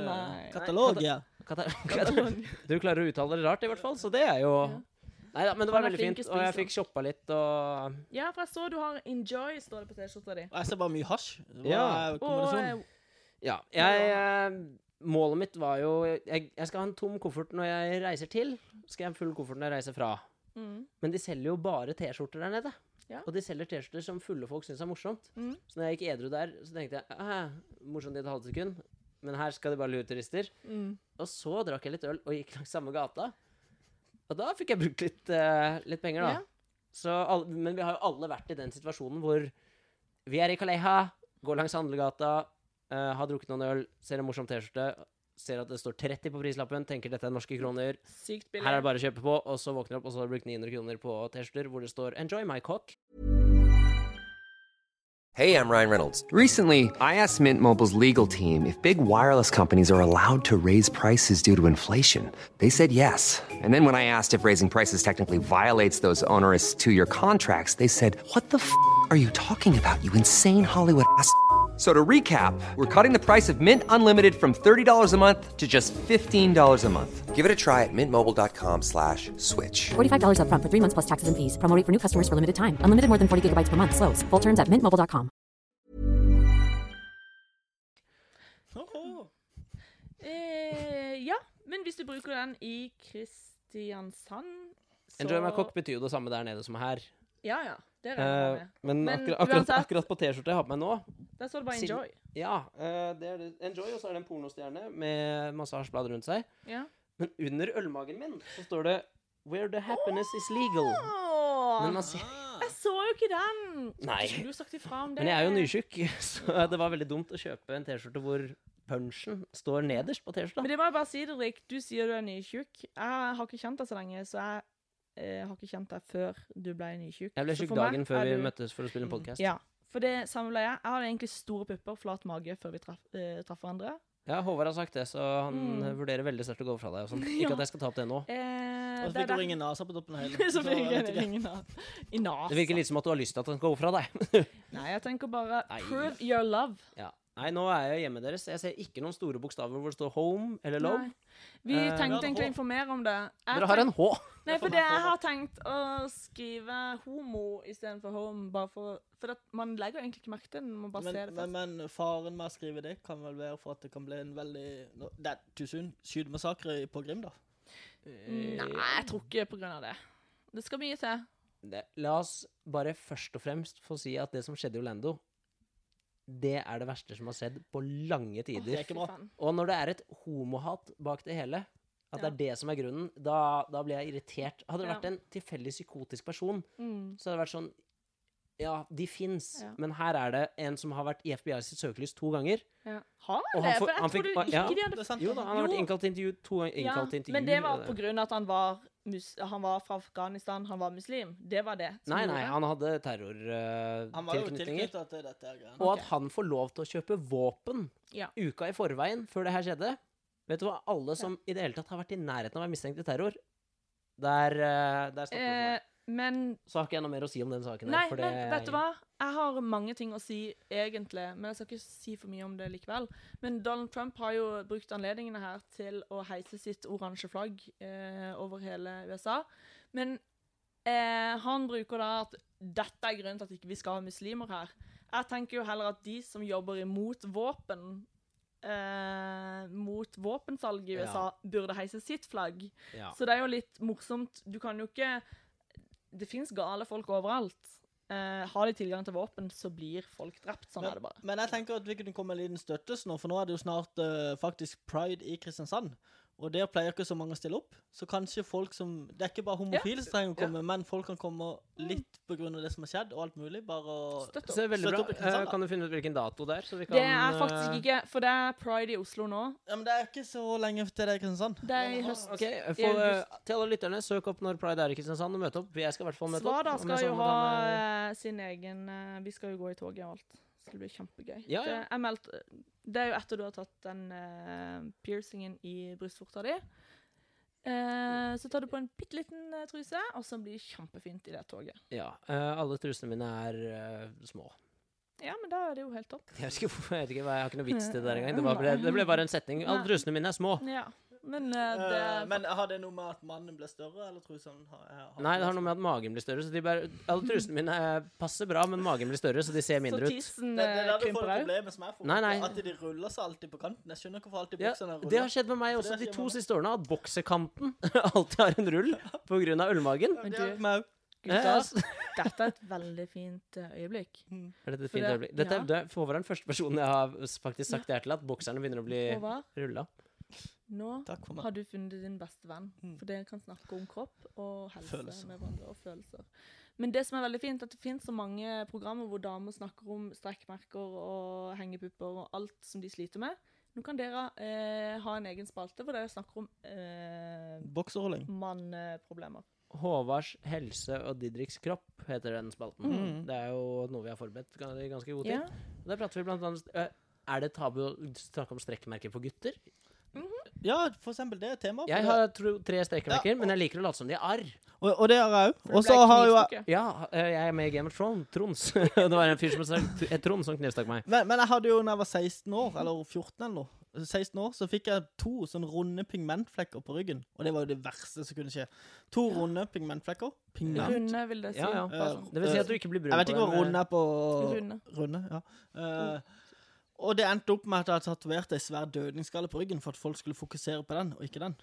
S4: Nei.
S3: Katalogia.
S2: Cata-
S4: Catalonia.
S2: du klarer å uttale det rart, i hvert fall, så det er jo
S4: Ja.
S2: Nei da, men det var
S4: Han er
S2: veldig
S4: flink
S2: fint,
S4: til å
S2: og jeg
S4: spise.
S2: fikk shoppa litt, og
S4: Ja, for jeg så du har 'enjoy' står det på T-skjorta di.
S3: Og Jeg ser bare mye hasj. Det var
S2: Ja.
S4: Og
S3: kombinasjon.
S2: sånn?
S4: eh,
S2: Ja. Jeg, eh, målet mitt var jo jeg, jeg skal ha en tom koffert når jeg reiser til. Skal jeg ha en full koffert når jeg reiser fra.
S4: mm.
S2: Men de selger jo bare T-skjorter der nede.
S4: Ja.
S2: Og de selger T-skjorter som fulle folk syns er morsomt.
S4: Mm.
S2: Så når jeg gikk edru der, så tenkte jeg «Æh, morsomt i et halvt sekund, men her skal de bare lure turister.
S4: Mm.
S2: Og så drakk jeg litt øl og gikk langs samme gata. Og da fikk jeg brukt litt, eh, litt penger, da.
S4: Ja.
S2: Så alle- men vi har jo alle vært i den situasjonen hvor vi er i Kaleha, går langs handlegata, eh, har drukket noen øl, ser en morsom T-skjorte, ser at det står 30 på prislappen, tenker dette er norske kroner,
S4: Sykt
S2: her er det
S4: billig.
S2: bare å kjøpe på, og så våkner jeg opp, og så har du brukt 900 kroner på T-skjorter hvor det står 'Enjoy my cock'.
S5: Hey, I'm Ryan Reynolds. Recently, I asked Mint Mobile's legal team if big wireless companies are allowed to raise prices due to inflation. They said yes. And then when I asked if raising prices technically violates those onerous two year contracts, they said, What the f are you talking about, you insane Hollywood ass? f- So to recap, we're cutting the price of Mint Unlimited from $30 a month to just $15 a month. Give it a try at mintmobile.com slash switch.
S6: $45 upfront for three months plus taxes and fees. Promote for new customers for limited time. Unlimited more than 40 gigabytes per month. Slows. Full terms at mintmobile.com.
S3: Oho.
S4: Eh, ja, men hvis du bruker den i Kristiansand, så
S2: Enjoy my cock betyr jo det samme der nede som her.
S4: Ja, ja. Det regner jeg
S2: Eh,
S4: med.
S2: men
S4: Men
S2: akkurat, akkurat,
S4: uansett-
S2: akkurat på T-skjorta jeg har på meg nå
S4: Der står det bare
S2: Siden-
S4: 'enjoy'.
S2: Ja, eh, det er det. Enjoy, og så er det en pornostjerne med massasjeblad rundt seg.
S4: Ja.
S2: Men under ølmagen min så står det 'Where the happiness is legal'. Men man ser
S4: Jeg så jo ikke den!
S2: Nei.
S4: Du skulle jo sagt ifra om det.
S2: Men jeg er jo nytjukk, så det var veldig dumt å kjøpe en T-skjorte hvor punsjen står nederst på
S4: Men
S2: T-skjorta.
S4: det må jeg bare si, Didrik. Du sier du er nytjukk. Jeg har ikke kjent deg så lenge, så jeg eh, har ikke kjent deg før du ble nytjukk.
S2: Jeg ble
S4: Så
S2: tjukk
S4: for meg
S2: dagen før
S4: er
S2: vi
S4: du-
S2: møttes for å spille en podkast.
S4: Ja. For det samme ble jeg. Jeg hadde egentlig store pupper, flat mage, før vi traff, eh, traff hverandre.
S2: Ja, Håvard har sagt det, så han eh, vurderer veldig sterkt å gå fra deg. Og sånn.
S4: Mm. Ja.
S2: Ikke at jeg skal ta opp det nå.
S4: Eh,
S3: Og så
S4: det er
S3: fikk du
S4: der-
S3: ringe nasa på toppen av hele.
S4: så
S3: var
S4: fikk
S3: det
S4: jeg
S3: litt greit.
S4: ringen av. I nas.
S2: Det virker litt som at du har lyst til at han skal gå fra deg.
S4: Nei, jeg tenker bare
S2: Nei.
S4: prove your love.
S2: ja. Nei, nå er jeg hjemme deres. Jeg ser ikke noen store bokstaver hvor det står home eller love.
S4: Nei. Vi
S2: Eh,
S3: vi har
S4: tenkte
S3: en
S4: egentlig
S3: H.
S4: å informere om det. Jeg
S2: Dere har en H.
S4: Nei,
S3: for
S4: for det
S3: meg
S4: jeg
S3: også.
S4: har tenkt å skrive homo istedenfor home. Bare for, for at man legger egentlig ikke merke til den. Man bare
S3: Men,
S4: ser det
S3: men,
S4: først.
S3: men faren med å skrive det kan vel være for at det kan bli en veldig no, Det er tusen skytemassakre på Grim, da.
S4: Nei, jeg tror ikke på grunn av det. Det skal mye til.
S2: Det, la oss bare først og fremst få si at det som skjedde i Orlando, det er det verste som har skjedd på lange
S3: Det
S2: tider.
S3: er ikke bra.
S4: Fy faen.
S2: Og når det er et homohat bak det hele, at det er det som er grunnen, da, da blir jeg irritert. Hadde det
S4: Ja.
S2: vært en tilfeldig psykotisk person,
S4: Mm.
S2: så hadde det vært sånn Ja, de fins,
S4: Ja.
S2: men her er det en som har vært i FBI sitt søkelys to ganger.
S4: Ja. Har
S2: Og
S4: han det?
S2: han får-
S4: For jeg
S2: han fikk-
S4: trodde ikke
S2: ja.
S4: de
S3: Det
S4: hadde
S3: er sant.
S2: Jo da, han har vært
S4: Jo.
S2: innkalt til intervju to ganger. Innkalt til intervju.
S4: Men det var
S2: eh,
S4: på grunn av at han var, mus han var fra Afghanistan, han var muslim. Det var det. som
S2: Nei,
S4: gjorde
S2: nei,
S4: det.
S2: han hadde eh,
S3: Han var jo
S2: terrortilknytninger.
S3: tilknyttet til dette. her
S2: og
S3: greiene.
S2: at han får lov til å kjøpe våpen
S4: Ja.
S2: uka i forveien før det her skjedde. Vet du hva, alle som i det hele tatt har vært i nærheten av å være mistenkt i terror, der, eh, der stopper det for meg.
S4: Eh, men
S2: Så har ikke jeg noe mer å si om den saken.
S4: Nei,
S2: her, for det-
S4: men vet du hva? Jeg har mange ting å si, egentlig, men jeg skal ikke si for mye om det likevel. Men Donald Trump har jo brukt anledningene her til å heise sitt oransje flagg eh, over hele USA. Men eh, han bruker da at dette er grunnen til at ikke vi ikke skal ha muslimer her. Jeg tenker jo heller at de som jobber imot våpen eh, mot våpensalg i
S2: Ja.
S4: USA, burde heise sitt flagg.
S2: Ja.
S4: Så det er jo litt morsomt. Du kan jo ikke Det fins gale folk overalt. Eh, har de tilgang til våpen, så blir folk drept. Sånn er det bare.
S3: Men jeg tenker at vi kunne komme med en liten støttes nå, for nå er det jo snart eh, faktisk pride i Kristiansand. Og der pleier ikke så mange å stille opp. Så kanskje folk som Det er ikke bare homofile som trenger å komme, men folk kan komme litt pga. det som har skjedd, og alt mulig. Bare å
S4: Støtt
S2: Så
S4: opp.
S2: veldig
S3: Støtt
S2: bra.
S3: opp i Kristiansand,
S2: Eh,
S3: da.
S2: Kan du finne ut hvilken dato det er? Så vi kan, eh,
S4: Det er faktisk ikke For det er pride i Oslo nå.
S3: Ja, men det er ikke så lenge til det er i Kristiansand.
S4: Det er i høst.
S2: Ok,
S4: I
S2: for, eh,
S4: august.
S2: Til alle lytterne, søk opp når Pride er i Kristiansand, og møt opp. Jeg skal i hvert fall møte opp.
S4: Svada
S2: om jeg
S4: skal jo
S2: sammen med
S4: ha
S2: han, eh,
S4: eh, sin egen eh, Vi skal jo gå i toget og alt. Så det blir kjempegøy.
S2: Ja, ja.
S4: Det, jeg meldt- det er jo etter du har tatt den eh, piercingen i brystvorta di. Eh, så tar du på en bitte liten eh, truse, og så blir det kjempefint i det toget.
S2: Ja, eh, Alle trusene mine er eh, små.
S4: Ja, men da er det jo helt topp.
S2: Jeg vet ikke hvorfor, jeg, vet ikke, hva- jeg har ikke noe vits til det der engang. Det, bare ble- det ble bare en setning. Alle
S4: Nei.
S2: trusene mine er små.
S4: Ja, men eh,
S3: Eh,
S4: det er
S3: men har det noe med at mannen ble større, eller trusene har, har
S2: Nei, det har noe med at magen blir større. Så de bare, alle trusene mine eh, passer bra, men magen blir større, så de ser mindre
S4: Så
S2: ut.
S4: tissen
S3: det, det er der
S4: eh,
S3: du får
S4: krymper òg.
S3: problemet som jeg får.
S2: Nei, nei.
S3: At de ruller seg alltid på kanten. Jeg skjønner ikke hvorfor alltid
S2: Ja,
S3: buksene
S2: det
S3: ruller.
S2: har skjedd med meg
S3: For
S2: også
S3: det
S2: de
S3: skjer
S2: to
S3: med meg.
S2: siste årene, at boksekanten alltid har en rull pga. ølmagen.
S3: Det
S4: Men
S3: har
S4: du,
S3: skjedd meg òg.
S2: Eh,
S4: gutter, dette er et veldig fint eh, øyeblikk.
S2: Er dette et
S4: For
S2: fint
S4: det-
S2: øyeblikk? Dette er,
S4: ja.
S2: det er for den første personen jeg har s- faktisk sagt det her til, at bokserne begynner å bli
S4: Håvard,
S2: rulla.
S4: nå
S3: Takk for meg.
S4: har du funnet din beste venn. For dere kan snakke om kropp og helse
S3: Mm. Følelser.
S4: med hverandre. og følelser. Men det som er veldig fint, er at det finnes så mange programmer hvor damer snakker om strekkmerker og hengepupper og alt som de sliter med. Nå kan dere eh, ha en egen spalte hvor dere snakker om eh,
S3: Bokserulling.
S4: mannproblemer.
S2: Håvards helse og Didriks kropp heter den spalten. Det er jo noe vi har forberedt gan- i ganske god tid.
S4: Ja.
S2: Og Der prater vi blant annet eh, Er det tabu å snakke om strekkmerker for gutter?
S3: Ja, for eksempel. Det er et tema. for
S2: Jeg
S3: det-
S2: har tro, tre strekkmerker,
S3: Ja,
S2: men jeg liker å late som de er arr.
S3: og, og det har jeg òg.
S4: For det
S3: Og så
S4: ble
S3: har jo jeg
S4: knivstukket.
S2: Ja, eh, jeg er med i Game of Thrones. Trons. det var en fyr som sa eh, Trond som knivstakk meg.
S3: men, men jeg hadde jo når jeg var 16 år, eller 14 eller noe, 16 år, så fikk jeg to sånne runde pigmentflekker på ryggen. Og det var jo det verste som kunne skje. To runde pigmentflekker. Pigment.
S4: Runde, vil det si.
S2: Ja, ja.
S4: Bare sånn.
S2: Det vil si at du ikke blir brun.
S3: Jeg vet ikke
S2: på
S3: hva
S2: den,
S3: runde er på
S4: Runde.
S3: Runde, ja. Eh, og det endte opp med at jeg tatoverte ei svær dødningsskalle på ryggen for at folk skulle fokusere på den, og ikke den.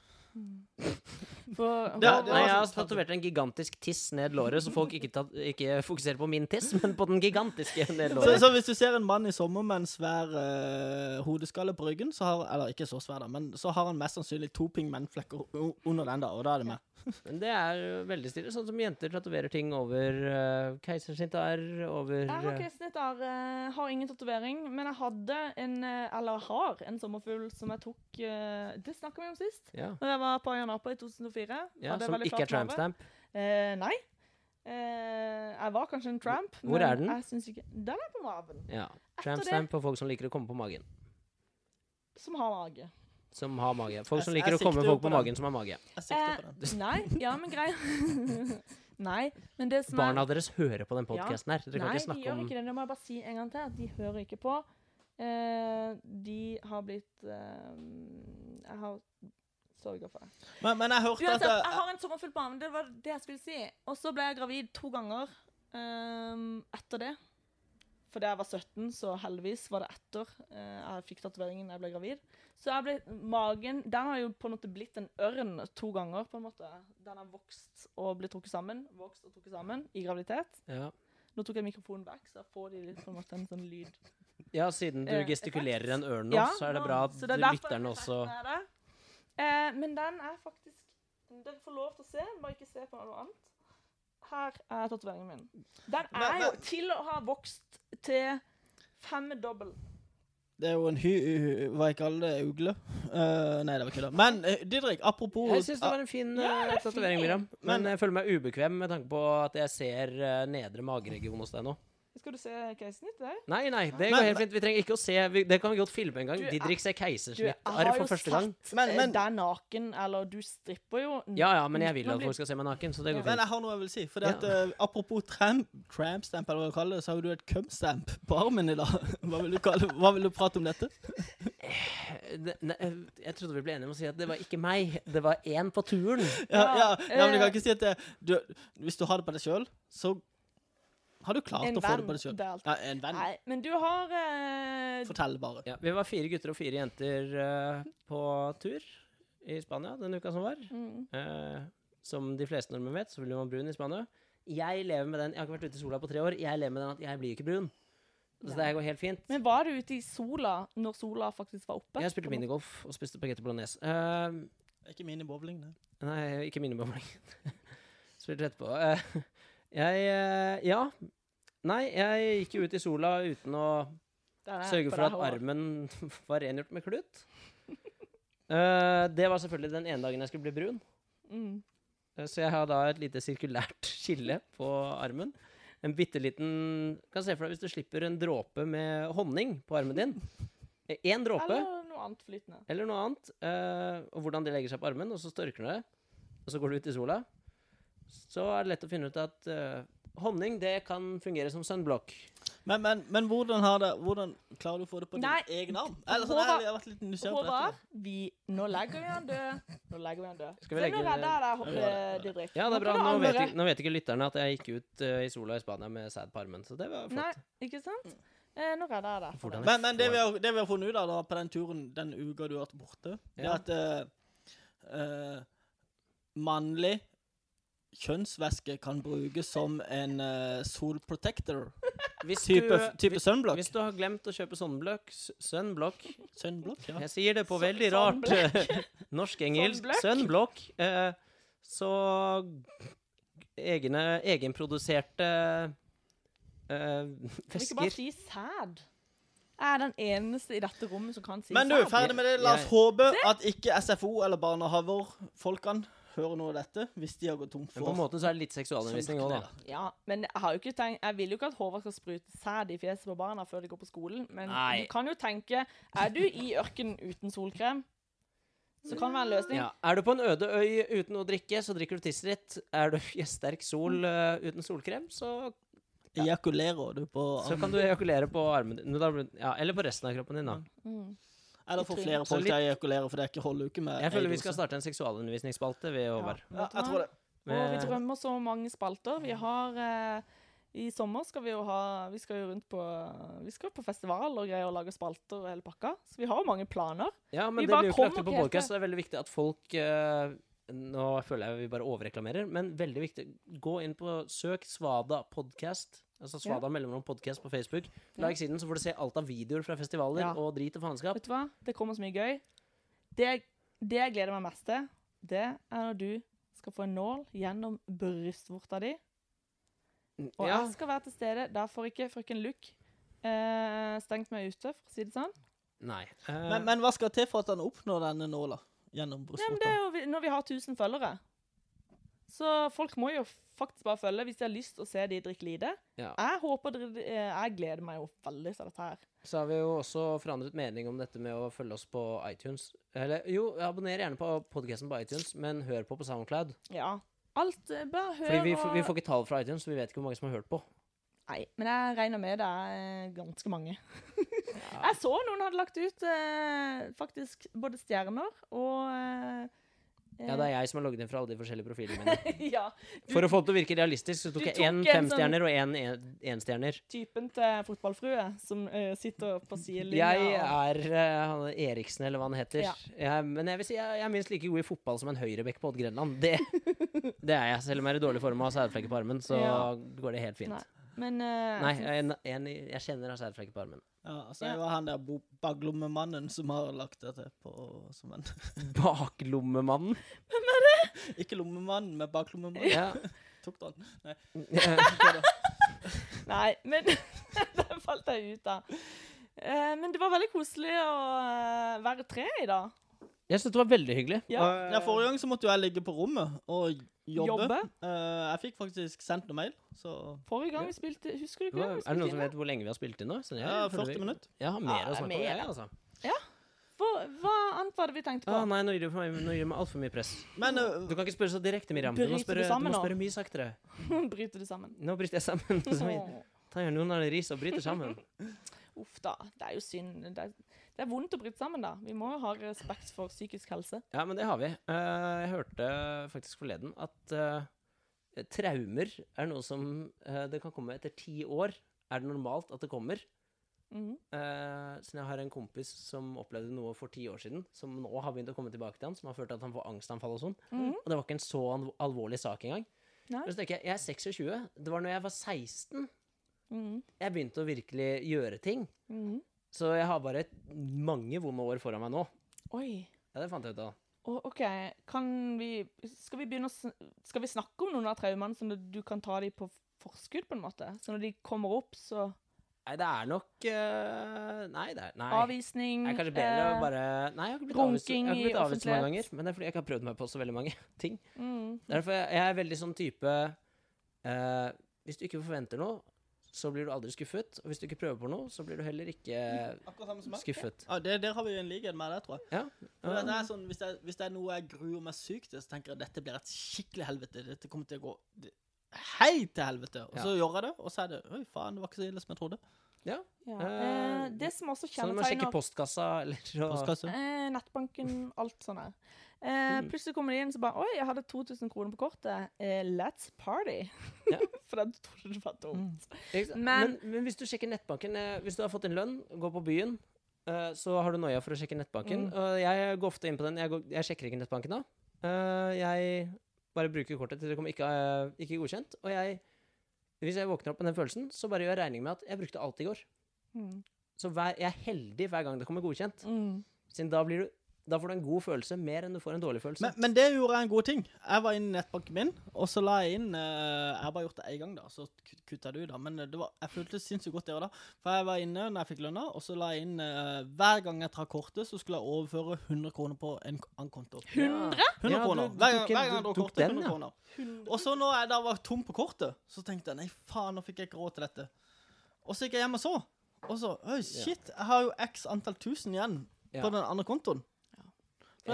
S4: For,
S3: Det er-
S4: hår-
S3: det er-
S2: Nei, jeg har tatovert en gigantisk tiss ned låret, så folk ikke, ta- ikke fokuserer på min tiss, men på den gigantiske ned
S3: Så,
S2: låret.
S3: så hvis du ser en mann i sommer med en svær eh, hodeskalle på ryggen, så har, eller ikke så svær da, men så har han mest sannsynlig to pigmentflekker u- under den da, og da er det med.
S2: Men det er jo veldig stille, sånn som jenter tatoverer ting over uh, keisersnittær, over
S4: Jeg har
S2: eh,
S4: kristnitter, eh, har ingen tatovering, men jeg hadde en, eh, eller har en sommerfugl som jeg tok eh, Det snakka vi om sist.
S2: ja,
S4: Når jeg var på Ayanapa i 2004.
S2: ja,
S4: Hadde
S2: som
S4: veldig
S2: ikke
S4: flott
S2: er tramp
S4: mage.
S2: stamp.
S4: Eh, nei. Eh, jeg var kanskje en tramp.
S2: Hvor er den?
S4: Jeg syns ikke Den er på maven.
S2: Ja, tramp
S4: det-
S2: stamp på folk som liker å komme på magen.
S4: Som har mage.
S2: Som har mage. Folk som
S3: Jeg-
S2: liker
S3: jeg
S2: å komme
S3: sikter jo
S2: folk
S3: på
S2: på
S3: den.
S2: magen som har mage.
S3: Jeg sikter på den.
S4: Eh, nei, ja, men greia Nei, men det som
S2: Barna
S4: er
S2: deres hører på den podkasten her. Dere kan
S4: Nei,
S2: ikke
S4: de
S2: snakke
S4: gjør
S2: om
S4: ikke det. Det må jeg bare si en gang til. At de hører ikke på. Eh, de har blitt eh, Jeg har sørga for det.
S3: Men, men jeg hørte at eh,
S4: Uansett, jeg
S3: jeg,
S4: har en sommerfugl på armen. Det var det jeg skulle si. Og så ble jeg gravid to ganger ehm, etter det. For da jeg var 17, så heldigvis var det etter eh, jeg fikk tatoveringen da jeg ble gravid. Så jeg ble, magen den har jo på en måte blitt en ørn to ganger. på en måte. Den har vokst og blitt trukket sammen, vokst og trukket sammen i graviditet.
S2: ja.
S4: Nå tok jeg mikrofonen vekk, så jeg får de litt, på en måte en sånn lyd.
S2: ja, siden du
S4: Eh,
S2: gestikulerer en ørn nå,
S4: Ja,
S2: så er det
S4: nå-
S2: bra at
S4: så det er derfor
S2: lytterne
S4: effekten
S2: også
S4: er der. Eh, men den er faktisk Dere får lov til å se den, bare ikke se på noe annet. Her er tatoveringen min. Den er
S3: Men-
S4: jo
S3: men-
S4: til å ha vokst til femmedobbel.
S3: det er jo en hy... Hva jeg kaller det? Ugle? Eh, nei, det var ikke det. Men eh, Didrik, apropos
S2: Jeg syns det var en fin
S4: Ja, det er
S2: tatovering,
S4: fint.
S2: Miriam. Men
S3: Men-
S2: jeg føler meg ubekvem med tanke på at jeg ser eh, nedre mageregion hos deg nå.
S4: Skal du se casen ditt? Der?
S2: Nei, nei, det
S3: Men-
S2: går helt fint. Vi trenger ikke å se vi, Det kan vi godt filme en gang.
S4: Du, jeg-
S2: Didrik ser
S4: jeg
S2: keisersnittarr
S4: har jo
S2: for første gang.
S3: Men,
S4: Eh,
S3: men,
S4: Det er naken, eller du stripper jo.
S2: Ja ja, men jeg vil
S4: Nå
S2: at
S4: blir-
S2: folk skal se meg naken, så det går
S3: Ah, men
S2: fint.
S3: jeg har noe jeg vil si. Fordi
S2: Ja.
S3: at eh, Apropos tramp, trampstamp, eller hva du kaller det, så har jo du et cumstamp på armen i dag. Hva vil du, kalle, hva vil du prate om dette?
S2: Eh, Det- Nei, jeg trodde vi ble enige om å si at det var ikke meg, det var én på turen.
S3: Ja, ja, ja, men jeg
S4: eh,
S3: kan ikke si at det, du, Hvis du har det på deg sjøl, så har du klart
S4: En
S3: å få det
S4: venn,
S3: på deg sjøl.
S4: det er alt.
S3: Ja, en venn.
S4: Nei, men du har eh,
S3: Fortell bare.
S2: Ja, vi var fire gutter og fire jenter eh, på tur i Spania den uka som var.
S4: mm.
S2: Eh, som de fleste nordmenn vet, så blir man brun i Spania. Jeg lever med den, jeg har ikke vært ute i sola på tre år, jeg lever med den at jeg blir ikke brun. Så det her går helt fint.
S4: Men var du ute i sola når sola faktisk var oppe?
S2: Jeg spilte minigolf og spiste spagetti bolognese. Eh,
S3: Ikke min i bowling, nei.
S2: Nei, ikke minibowling. Spilte etterpå. Eh, Jeg eh, Ja. Nei, jeg gikk jo ut i sola uten å
S4: Der er jeg
S2: sørge
S4: på
S2: for
S4: det
S2: at
S4: håret.
S2: armen var rengjort med klut. Eh, det var selvfølgelig den ene dagen jeg skulle bli brun.
S4: Mm.
S2: Eh, Så jeg har da et lite sirkulært skille på armen. En bitte liten Kan se for deg hvis du slipper en dråpe med honning på armen din. Én dråpe eller,
S4: Eller noe annet flytende.
S2: noe annet. eh, og hvordan det legger seg på armen, og så størker du det. Og så går du ut i sola. Så er det lett å finne ut at eh, honning det kan fungere som sunblock.
S3: Men, men, men hvordan, har det, hvordan klarer du å få det på din
S4: Nei,
S3: egen arm? Eller sånn,
S4: Håvard-
S3: jeg har vært litt nysgjerrig på
S4: Håvard,
S3: dette.
S4: vi, nå legger vi han død. Nå legger vi han død.
S2: Skal vi
S4: Se,
S2: legge-
S4: Nå redder jeg deg,
S3: Ja,
S4: Hoppe,
S3: ja, ja.
S4: Didrik.
S2: Ja, det er bra.
S4: kan du
S2: Nå vet,
S4: angre.
S2: ikke, nå vet ikke lytterne at jeg gikk ut eh, i sola i Spania med sæd på armen. Så det var flott.
S4: Nei, ikke sant? Eh, nå redder jeg deg. for
S2: Hvordan
S4: det.
S3: Men, men det, vi har, det vi har funnet ut av da, på den turen den uka du har vært borte, det
S2: Ja.
S3: er at eh, eh, mannlig kjønnsvæske kan brukes som en eh, sol protector.
S2: Hvis du-
S3: Type, type sunblock.
S2: Hvis du har glemt å kjøpe sunblock, s- sunblock
S3: Sunblock, ja.
S2: Jeg sier det på
S4: Sun-
S2: veldig rart norsk-engelsk. Sunblock. eh, så egne, egenproduserte eh,
S4: Kan vi ikke bare
S2: væsker
S4: si sæd? Jeg er den eneste i dette rommet som kan si
S3: Men du,
S4: sæd.
S3: ferdig med det. La oss
S2: Jeg-
S3: håpe at ikke SFO eller barnehaver-folkene hører noe av dette, hvis de har gått tom
S2: Men på en
S3: for
S2: måte så er det litt seksualundervisning òg, da.
S4: Ja, men jeg, har jo ikke tenkt, jeg vil jo ikke at Håvard skal sprute sæd i fjeset på barna før de går på skolen. Men
S2: Nei.
S4: du kan jo tenke Er du i ørkenen uten solkrem, så kan det være en løsning.
S2: Ja. Er du på en øde øy uten å drikke, så drikker du tisset ditt. Er du i sterk
S4: Mm.
S2: sol eh, uten solkrem, så,
S3: Ejakulerer du på
S2: så kan du ejakulere på armen din. Da blir- Ja, eller på resten av kroppen din, da.
S3: Eller få flere
S2: Så
S3: folk til å ejakulere, for det er ikke holduke med
S2: Jeg føler vi
S3: eidose.
S2: skal starte en seksualundervisningsspalte ved Håvard.
S3: Ja, jeg tror det.
S4: Og vi
S2: Med-
S4: drømmer så mange spalter. Vi har eh, I sommer skal vi jo ha Vi skal jo rundt på Vi skal på festival og greier og lage spalter og hele pakka. Så vi har jo mange planer.
S2: Ja, men
S4: Vi
S2: det
S4: bare
S2: blir jo ikke
S4: kommer
S2: lagt ut på
S4: ikke helt
S2: podcast, så det er veldig viktig at folk eh, Nå føler jeg vi bare overreklamerer, men veldig viktig. Gå inn på søk Svada podcast. Altså Svada mellomrom podcast på Facebook. Lag siden, så får du se alt av videoer fra festivaler
S4: Ja.
S2: og drit og faenskap.
S4: Vet du hva? Det kommer så mye gøy. Det, jeg- det jeg gleder meg mest til, det er når du skal få en nål gjennom brystvorta di. Og
S2: Ja,
S4: jeg skal være til stede. Der får ikke frøken Luck eh, stengt meg ute, for å si det sånn.
S2: nei. Eh,
S3: Men, men hva skal til for at han oppnår denne nåla gjennom
S4: Ja, men det
S3: brystvorta?
S4: er jo vi- når vi har 1000 følgere. Så folk må jo faktisk bare følge hvis de har lyst til å se de drikke lite.
S2: Ja.
S4: Jeg håper dere eh, Jeg gleder meg jo veldig til dette her.
S2: Så har vi jo også forandret mening om dette med å følge oss på iTunes. Eller jo, abonner gjerne på podcasten på iTunes, men hør på på SoundCloud.
S4: Ja. Alt eh, Bare hør
S2: Fordi vi, f- vi
S4: og-
S2: får ikke tall fra iTunes, så vi vet ikke hvor mange som har hørt på.
S4: Nei, men jeg regner med det er eh, ganske mange. jeg så noen hadde lagt ut eh, faktisk både stjerner og eh,
S2: Ja, det er jeg som har logget inn fra alle de forskjellige profilene mine.
S4: ja,
S2: For å få det til å virke realistisk, så tok
S4: du
S2: jeg
S4: tok
S2: én
S4: en sånn
S2: femstjerner og én en- enstjerner.
S4: typen til fotballfrue som eh, sitter på sidelinja.
S2: Jeg
S4: og-
S2: er eh, han Eriksen, eller hva han heter.
S4: Ja.
S2: Jeg- men jeg vil si jeg, jeg er minst like god i fotball som en høyrebekk på Odd Grenland. Det, det er jeg. Selv om jeg er i dårlig form og har sædflekker på armen, så
S4: Ja.
S2: går det helt fint.
S4: Nei,
S2: Nei,
S4: men eh,
S2: jeg, er en- en, i- jeg kjenner har sædflekker på armen.
S3: Ja, altså, jeg var han der bo- baklommemannen som har lagt det til på som en
S2: Baklommemannen.
S3: Ikke lommemannen, men baklommemannen.
S2: Ja.
S3: Tok du han? Nei.
S4: Nei, men Den falt jeg ut av. Eh, men det var veldig koselig å eh, være tre i dag.
S2: Jeg syns det var veldig hyggelig.
S4: Ja.
S3: Ja, Forrige gang så måtte jo jeg ligge på rommet og jobbe.
S4: Jobbe?
S3: Eh, jeg fikk faktisk sendt noe mail, så
S4: Forrige gang vi spilte Husker du
S2: Det var,
S4: ikke? vi
S2: er det noen som
S4: spilte inn?
S2: vet hvor lenge vi har spilt inn nå? Sånn, jeg
S3: ja,
S2: føler vi-
S3: 40 minutter.
S2: Jeg har mer
S4: Ja,
S2: å snakke om.
S4: mer.
S2: jeg, Altså.
S4: Hva, hva annet var det vi tenkte på?
S2: Ah, nei, nå gir du meg, nå gir du meg altfor mye press.
S3: Men eh,
S2: Du kan ikke spørre så direkte, Miriam. Du må
S4: Bryter du
S2: spørre, du
S4: sammen
S2: må
S4: nå?
S2: spørre mye saktere.
S4: Bryter det sammen?
S2: Nå bryter jeg sammen. Så vi-
S4: Åh.
S2: Ta gjerne noen av de ris og bryter sammen.
S4: Uff da, det er jo synd. Det er, det er vondt å bryte sammen, da. Vi må jo ha respekt for psykisk helse.
S2: Ja, men det har vi. Eh, jeg hørte faktisk forleden at eh, traumer er noe som eh, det kan komme etter ti år. Er det normalt at det kommer?
S4: Mhm.
S2: Eh, siden jeg har en kompis som opplevde noe for ti år siden, som nå har begynt å komme tilbake til han, som har ført til at han får angstanfall og sånn. Og det var ikke en så alv- alvorlig sak engang.
S4: Mhm. Nei.
S2: Men så tenker jeg, jeg er 26. Det var når jeg var 16
S4: Mm,
S2: jeg begynte å virkelig gjøre ting. Så jeg har bare mange vonde år foran meg nå.
S4: Oi.
S2: Ja, det fant jeg ut av.
S4: Å, OK, kan vi Skal vi begynne å sn- Skal vi snakke om noen av traumene, sånn at du kan ta dem på forskudd, på en måte? Så når de kommer opp, så
S2: Nei, det er nok eh, Nei, det er nei.
S4: Avvisning
S2: Det er kanskje bedre å
S4: eh,
S2: bare Nei, jeg har ikke blitt avvist, jeg
S4: runking
S2: har ikke blitt
S4: i
S2: avvist så mange ganger.
S4: offentlighet.
S2: Men det er fordi jeg ikke har prøvd meg på så veldig mange ting.
S4: mm,
S2: Derfor er jeg- jeg er veldig sånn type eh, Hvis du ikke forventer noe, så blir du aldri skuffet. Og hvis du ikke prøver på noe, så blir du heller ikke
S3: akkurat samme som meg.
S2: skuffet.
S3: Ja, det, der har vi jo en likhet med det, tror jeg.
S2: Ja.
S3: For det er sånn, hvis, det er, hvis det er noe jeg gruer meg sykt til, så tenker jeg at dette blir et skikkelig helvete. Dette kommer til å gå d- hei til helvete. Og så gjør jeg det, og så er det Oi, faen, det var ikke så ille som jeg trodde.
S2: ja.
S4: ja.
S2: Eh,
S4: eh, Det som også
S2: Så du må sjekke
S4: kjennetegner
S2: postkassa eller og,
S3: Postkasse.
S4: eh, nettbanken, alt sånn her. Eh,
S2: Mm.
S4: plutselig kommer de inn så bare Oi, jeg hadde 2000 kroner på kortet. Eh, let's party.
S2: Ja.
S4: For da trodde du det var dumt.
S2: Ikke sant? men,
S4: Men-
S2: men hvis du sjekker nettbanken eh, Hvis du har fått en lønn, går på byen, eh, så har du noia for å sjekke nettbanken. Og jeg går ofte inn på den. Jeg, går, jeg sjekker ikke nettbanken da. Eh, jeg bare bruker kortet til det kommer ikke, eh, ikke godkjent. Og jeg, hvis jeg våkner opp med den følelsen, så bare gjør jeg regning med at jeg brukte alt i går. Mm.
S4: Mm.
S2: Så hver, jeg er heldig hver gang det kommer godkjent. Siden da, blir du, da får du en god følelse mer enn du får en dårlig følelse.
S3: Men, men det gjorde jeg en god ting. Jeg var inne i nettbanken min, og så la jeg inn eh, Jeg har bare gjort det én gang, da, så kut- kutta du, da. Men eh, det var, jeg følte det sinnssykt godt der og da. For jeg var inne når jeg fikk lønna, og så la jeg inn eh, Hver gang jeg trakk kortet, så skulle jeg overføre 100 kroner på en k- annen konto. 100? 100
S2: Ja, du-
S3: kroner.
S2: du
S3: Hver gang,
S2: tok en-
S3: hver gang jeg
S2: du
S3: drakk
S2: tok
S3: kortet,
S2: den,
S3: 100
S2: ja.
S3: kroner. Og så når jeg da var tom på kortet, så tenkte jeg nei, faen, nå fikk jeg ikke råd til dette. Og så gikk jeg hjem og så. Og så Oi, shit, jeg har jo x antall tusen igjen
S2: Ja.
S3: på den andre kontoen. Men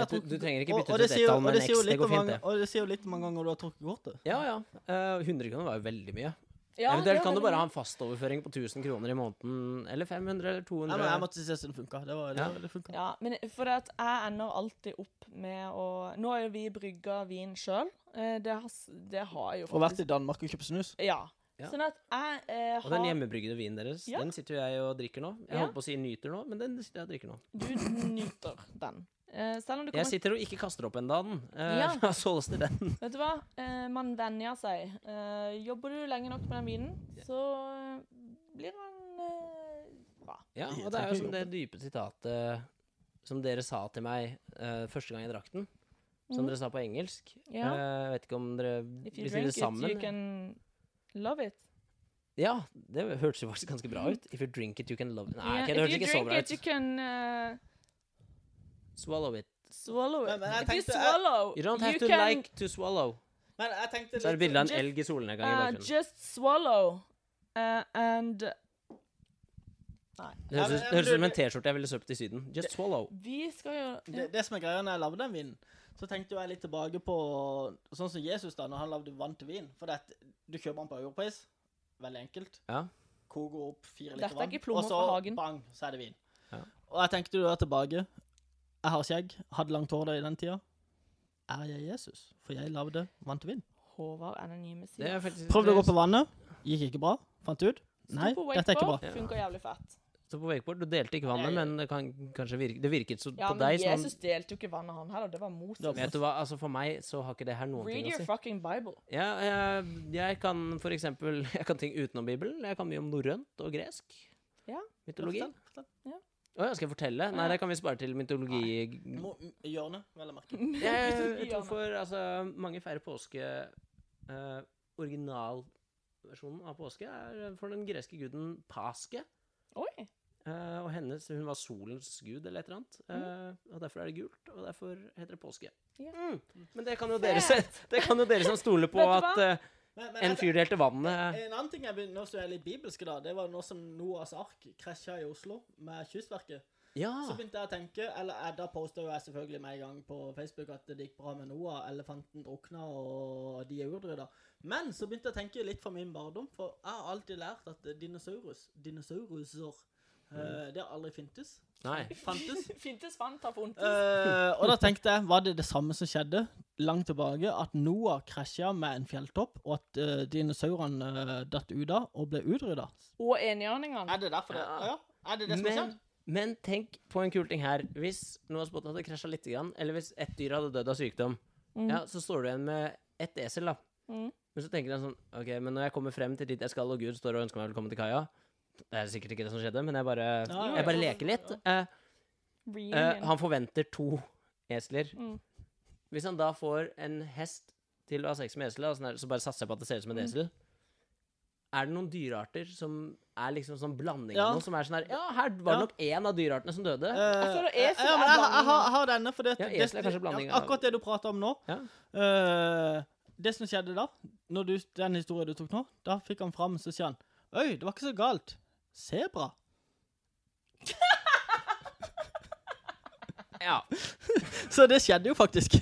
S2: Ja,
S3: jeg
S2: du,
S3: tror-
S2: du trenger ikke
S3: og-
S2: bytte
S3: og
S2: ut
S3: det
S2: et
S3: sier jo-
S2: ettall
S3: og
S2: med en
S3: det sier jo
S2: X. Det
S3: litt
S2: går
S3: om hvor
S2: fint,
S3: mange-
S2: det.
S3: Og det sier jo litt om hvor mange ganger du har trukket kortet.
S2: Ja, ja. Eh, 100 kroner var jo veldig mye.
S4: Ja, det
S2: Eventuelt
S4: var
S2: kan du
S4: veldig
S2: bare ha en fastoverføring på 1000 kroner i måneden, eller 500 eller
S3: Jeg, må, jeg
S2: 200.
S3: måtte se om det funka. Det, var, det,
S2: Ja.
S3: det funket.
S4: Ja, men for at jeg ender alltid opp med å Nå har jo vi brygga vin sjøl. Eh, Det, har s- det har jo
S3: Og vært
S4: faktisk
S3: i Danmark og kjøpt snus.
S4: Ja.
S2: Ja.
S4: Sånn at jeg eh,
S2: Og den
S4: har
S2: hjemmebryggede vinen deres,
S4: Ja.
S2: den sitter jo jeg og drikker nå. Jeg
S4: Ja.
S2: holdt på å si nyter nå, men den sitter jeg og drikker nå.
S4: Du nyter den. Eh, selv om det
S2: Jeg
S4: kommer
S2: sitter og ikke kaster opp ennå, den. Eh,
S4: Ja.
S2: La oss holde oss til den.
S4: Vet du hva? Eh, man venner seg. Eh, jobber du lenge nok med den vinen, så eh, blir han eh, bra.
S2: Ja, og det er jo som det dype sitatet eh, som dere sa til meg eh, første gang jeg drakk den. Som
S4: Mhm.
S2: dere sa på engelsk.
S4: Ja.
S2: Eh, vet ikke om dere
S4: If you
S2: Hvis dere
S4: drink it, you
S2: sammen
S4: can love it.
S2: Ja, det hørtes jo faktisk ganske bra ut. If you drink it, you can love it. Nei,
S4: Yeah,
S2: ok, det
S4: if
S2: hørtes
S4: you
S2: ikke så
S4: drink
S2: bra
S4: it, you
S2: ut.
S4: can eh,
S2: Swallow it.
S4: swallow it.
S3: Men- men jeg
S4: If you
S3: tenkte- eh, jeg-
S4: swallow,
S2: You don't have to
S4: can
S2: like to swallow.
S3: Men jeg tenkte
S2: Så er det
S3: litt-
S2: bilde av en
S4: Just-
S2: elg i solnedgang i
S4: uh,
S2: bakgrunnen.
S4: just swallow uh, and Nei.
S2: Det høres ut- det
S3: Ja, men-
S2: høres ut som en T-skjorte jeg ville søpt i Syden. Just swallow.
S4: Vi skal jo
S3: det, det som er greia når jeg lagde den vinen, så tenkte jo jeg litt tilbake på sånn som Jesus da, når han lagde vann til vin. For det, at du kjøper den på europris, veldig enkelt.
S2: Ja.
S3: Koker opp fire
S4: Dette er
S3: liter vann,
S4: ikke
S3: og
S4: plommer fra
S3: så
S4: hagen.
S3: bang, så er det vin.
S2: Ja.
S3: Og jeg tenkte du er tilbake. Jeg har skjegg, hadde langt hår da i den tida. Er jeg Jesus? For jeg lagde vann til vin.
S4: Håvard er den nye
S2: Det er
S4: messias.
S2: faktisk
S3: Prøvde å gå
S2: det-
S3: på vannet, gikk ikke bra. Fant ut. Nei,
S4: Sto på
S3: dette er ikke bra.
S4: wakeboard, Funker jævlig fett.
S2: Så på wakeboard, du delte ikke vannet, men det kan kanskje virke Det virket så
S4: Ja,
S2: på
S4: men
S2: deg som
S4: Jesus delte jo ikke vannet, han heller. Det var Moses.
S2: Vet du hva, altså for meg så har ikke det her noen
S4: Read
S2: ting
S4: your
S2: å si.
S4: fucking Bible.
S2: Ja, jeg, jeg kan for eksempel Jeg kan ting utenom Bibelen. Jeg kan mye om norrønt og gresk.
S4: Ja.
S2: Mytologi.
S3: Fortell, fortell.
S2: Å ja, skal jeg fortelle? Nei, det kan vi spare til mytologi...
S3: Må- Hjørnet, vel å
S4: Mm.
S3: merke.
S2: Jeg,
S4: Mytologi,
S2: jeg tror
S4: Anna.
S2: for altså, mange feirer påske eh, Originalversjonen av påske er for den greske guden Paske.
S4: Oi.
S2: eh, og hennes, hun var solens gud eller et eller annet. eh, og derfor er det gult, og derfor heter det påske.
S4: Mm. Ja.
S2: Mm. Men det kan jo dere se. Det kan jo dere som stoler på
S4: Vet du
S2: at
S4: hva?
S2: eh,
S3: Men- men
S2: en
S3: jeg-
S2: fyr delte vannet eh,
S3: En annen ting jeg begynte nå som er litt bibelske, da, det var nå som Noas ark krasja i Oslo med Kystverket.
S4: Eh,
S2: Ja!
S3: Så begynte jeg å tenke, eller eh, da posta jo jeg selvfølgelig med en gang på Facebook at det gikk bra med Noah, elefanten drukna og de er utrydda. Men så begynte jeg å tenke litt fra min barndom, for jeg har alltid lært at dinosaurus, dinosauruser, eh, det har aldri fintes.
S2: Nei.
S3: Fantes.
S4: Fintes vann, ta for vondt.
S3: Eh, og da tenkte jeg, var det det samme som skjedde langt tilbake? At Noah krasja med en fjelltopp, og at eh, dinosaurene eh, datt ut av og ble utrydda.
S4: Og enhjørningene.
S3: Er det derfor det?
S2: Ja.
S3: Ja. Er det det som har
S2: Men,
S3: skjedd?
S2: men tenk på en kul ting her. Hvis Noahs båt hadde krasja litt, grann, eller hvis ett dyr hadde dødd av sykdom, ja, så står du igjen med ett esel. da.
S4: Mm.
S2: Men så tenker jeg sånn Ok, men når jeg kommer frem til dit jeg skal, og Gud står og ønsker meg velkommen til kaia Det er sikkert ikke det som skjedde, men jeg bare,
S3: Ja, ja,
S2: jeg bare
S3: ja.
S2: leker litt. Eh, eh,
S4: Reunion.
S2: han forventer to esler.
S4: Mm.
S2: Hvis han da får en hest til å ha sex med eselet, og sånn her, så bare satser jeg på at det ser ut
S3: Mm.
S2: som et esel Er det noen dyrearter som er liksom sånn blanding
S3: Ja.
S2: av noe? Som er sånn her Ja, her var
S3: Ja.
S2: det nok én av dyreartene som døde.
S4: Jeg føler
S3: Eh,
S4: esel
S3: ja, men jeg,
S4: er
S3: jeg,
S4: blanding.
S3: har- jeg har denne, for det,
S2: Ja, esel er kanskje blanding
S3: ja,
S2: av-
S3: Akkurat det du prater om nå.
S2: Ja.
S3: Eh, det som skjedde da, når du, den historien du tok nå, da fikk han fram, så sier han Oi, det var ikke så galt. Sebra.
S2: ja.
S3: Så det skjedde jo faktisk.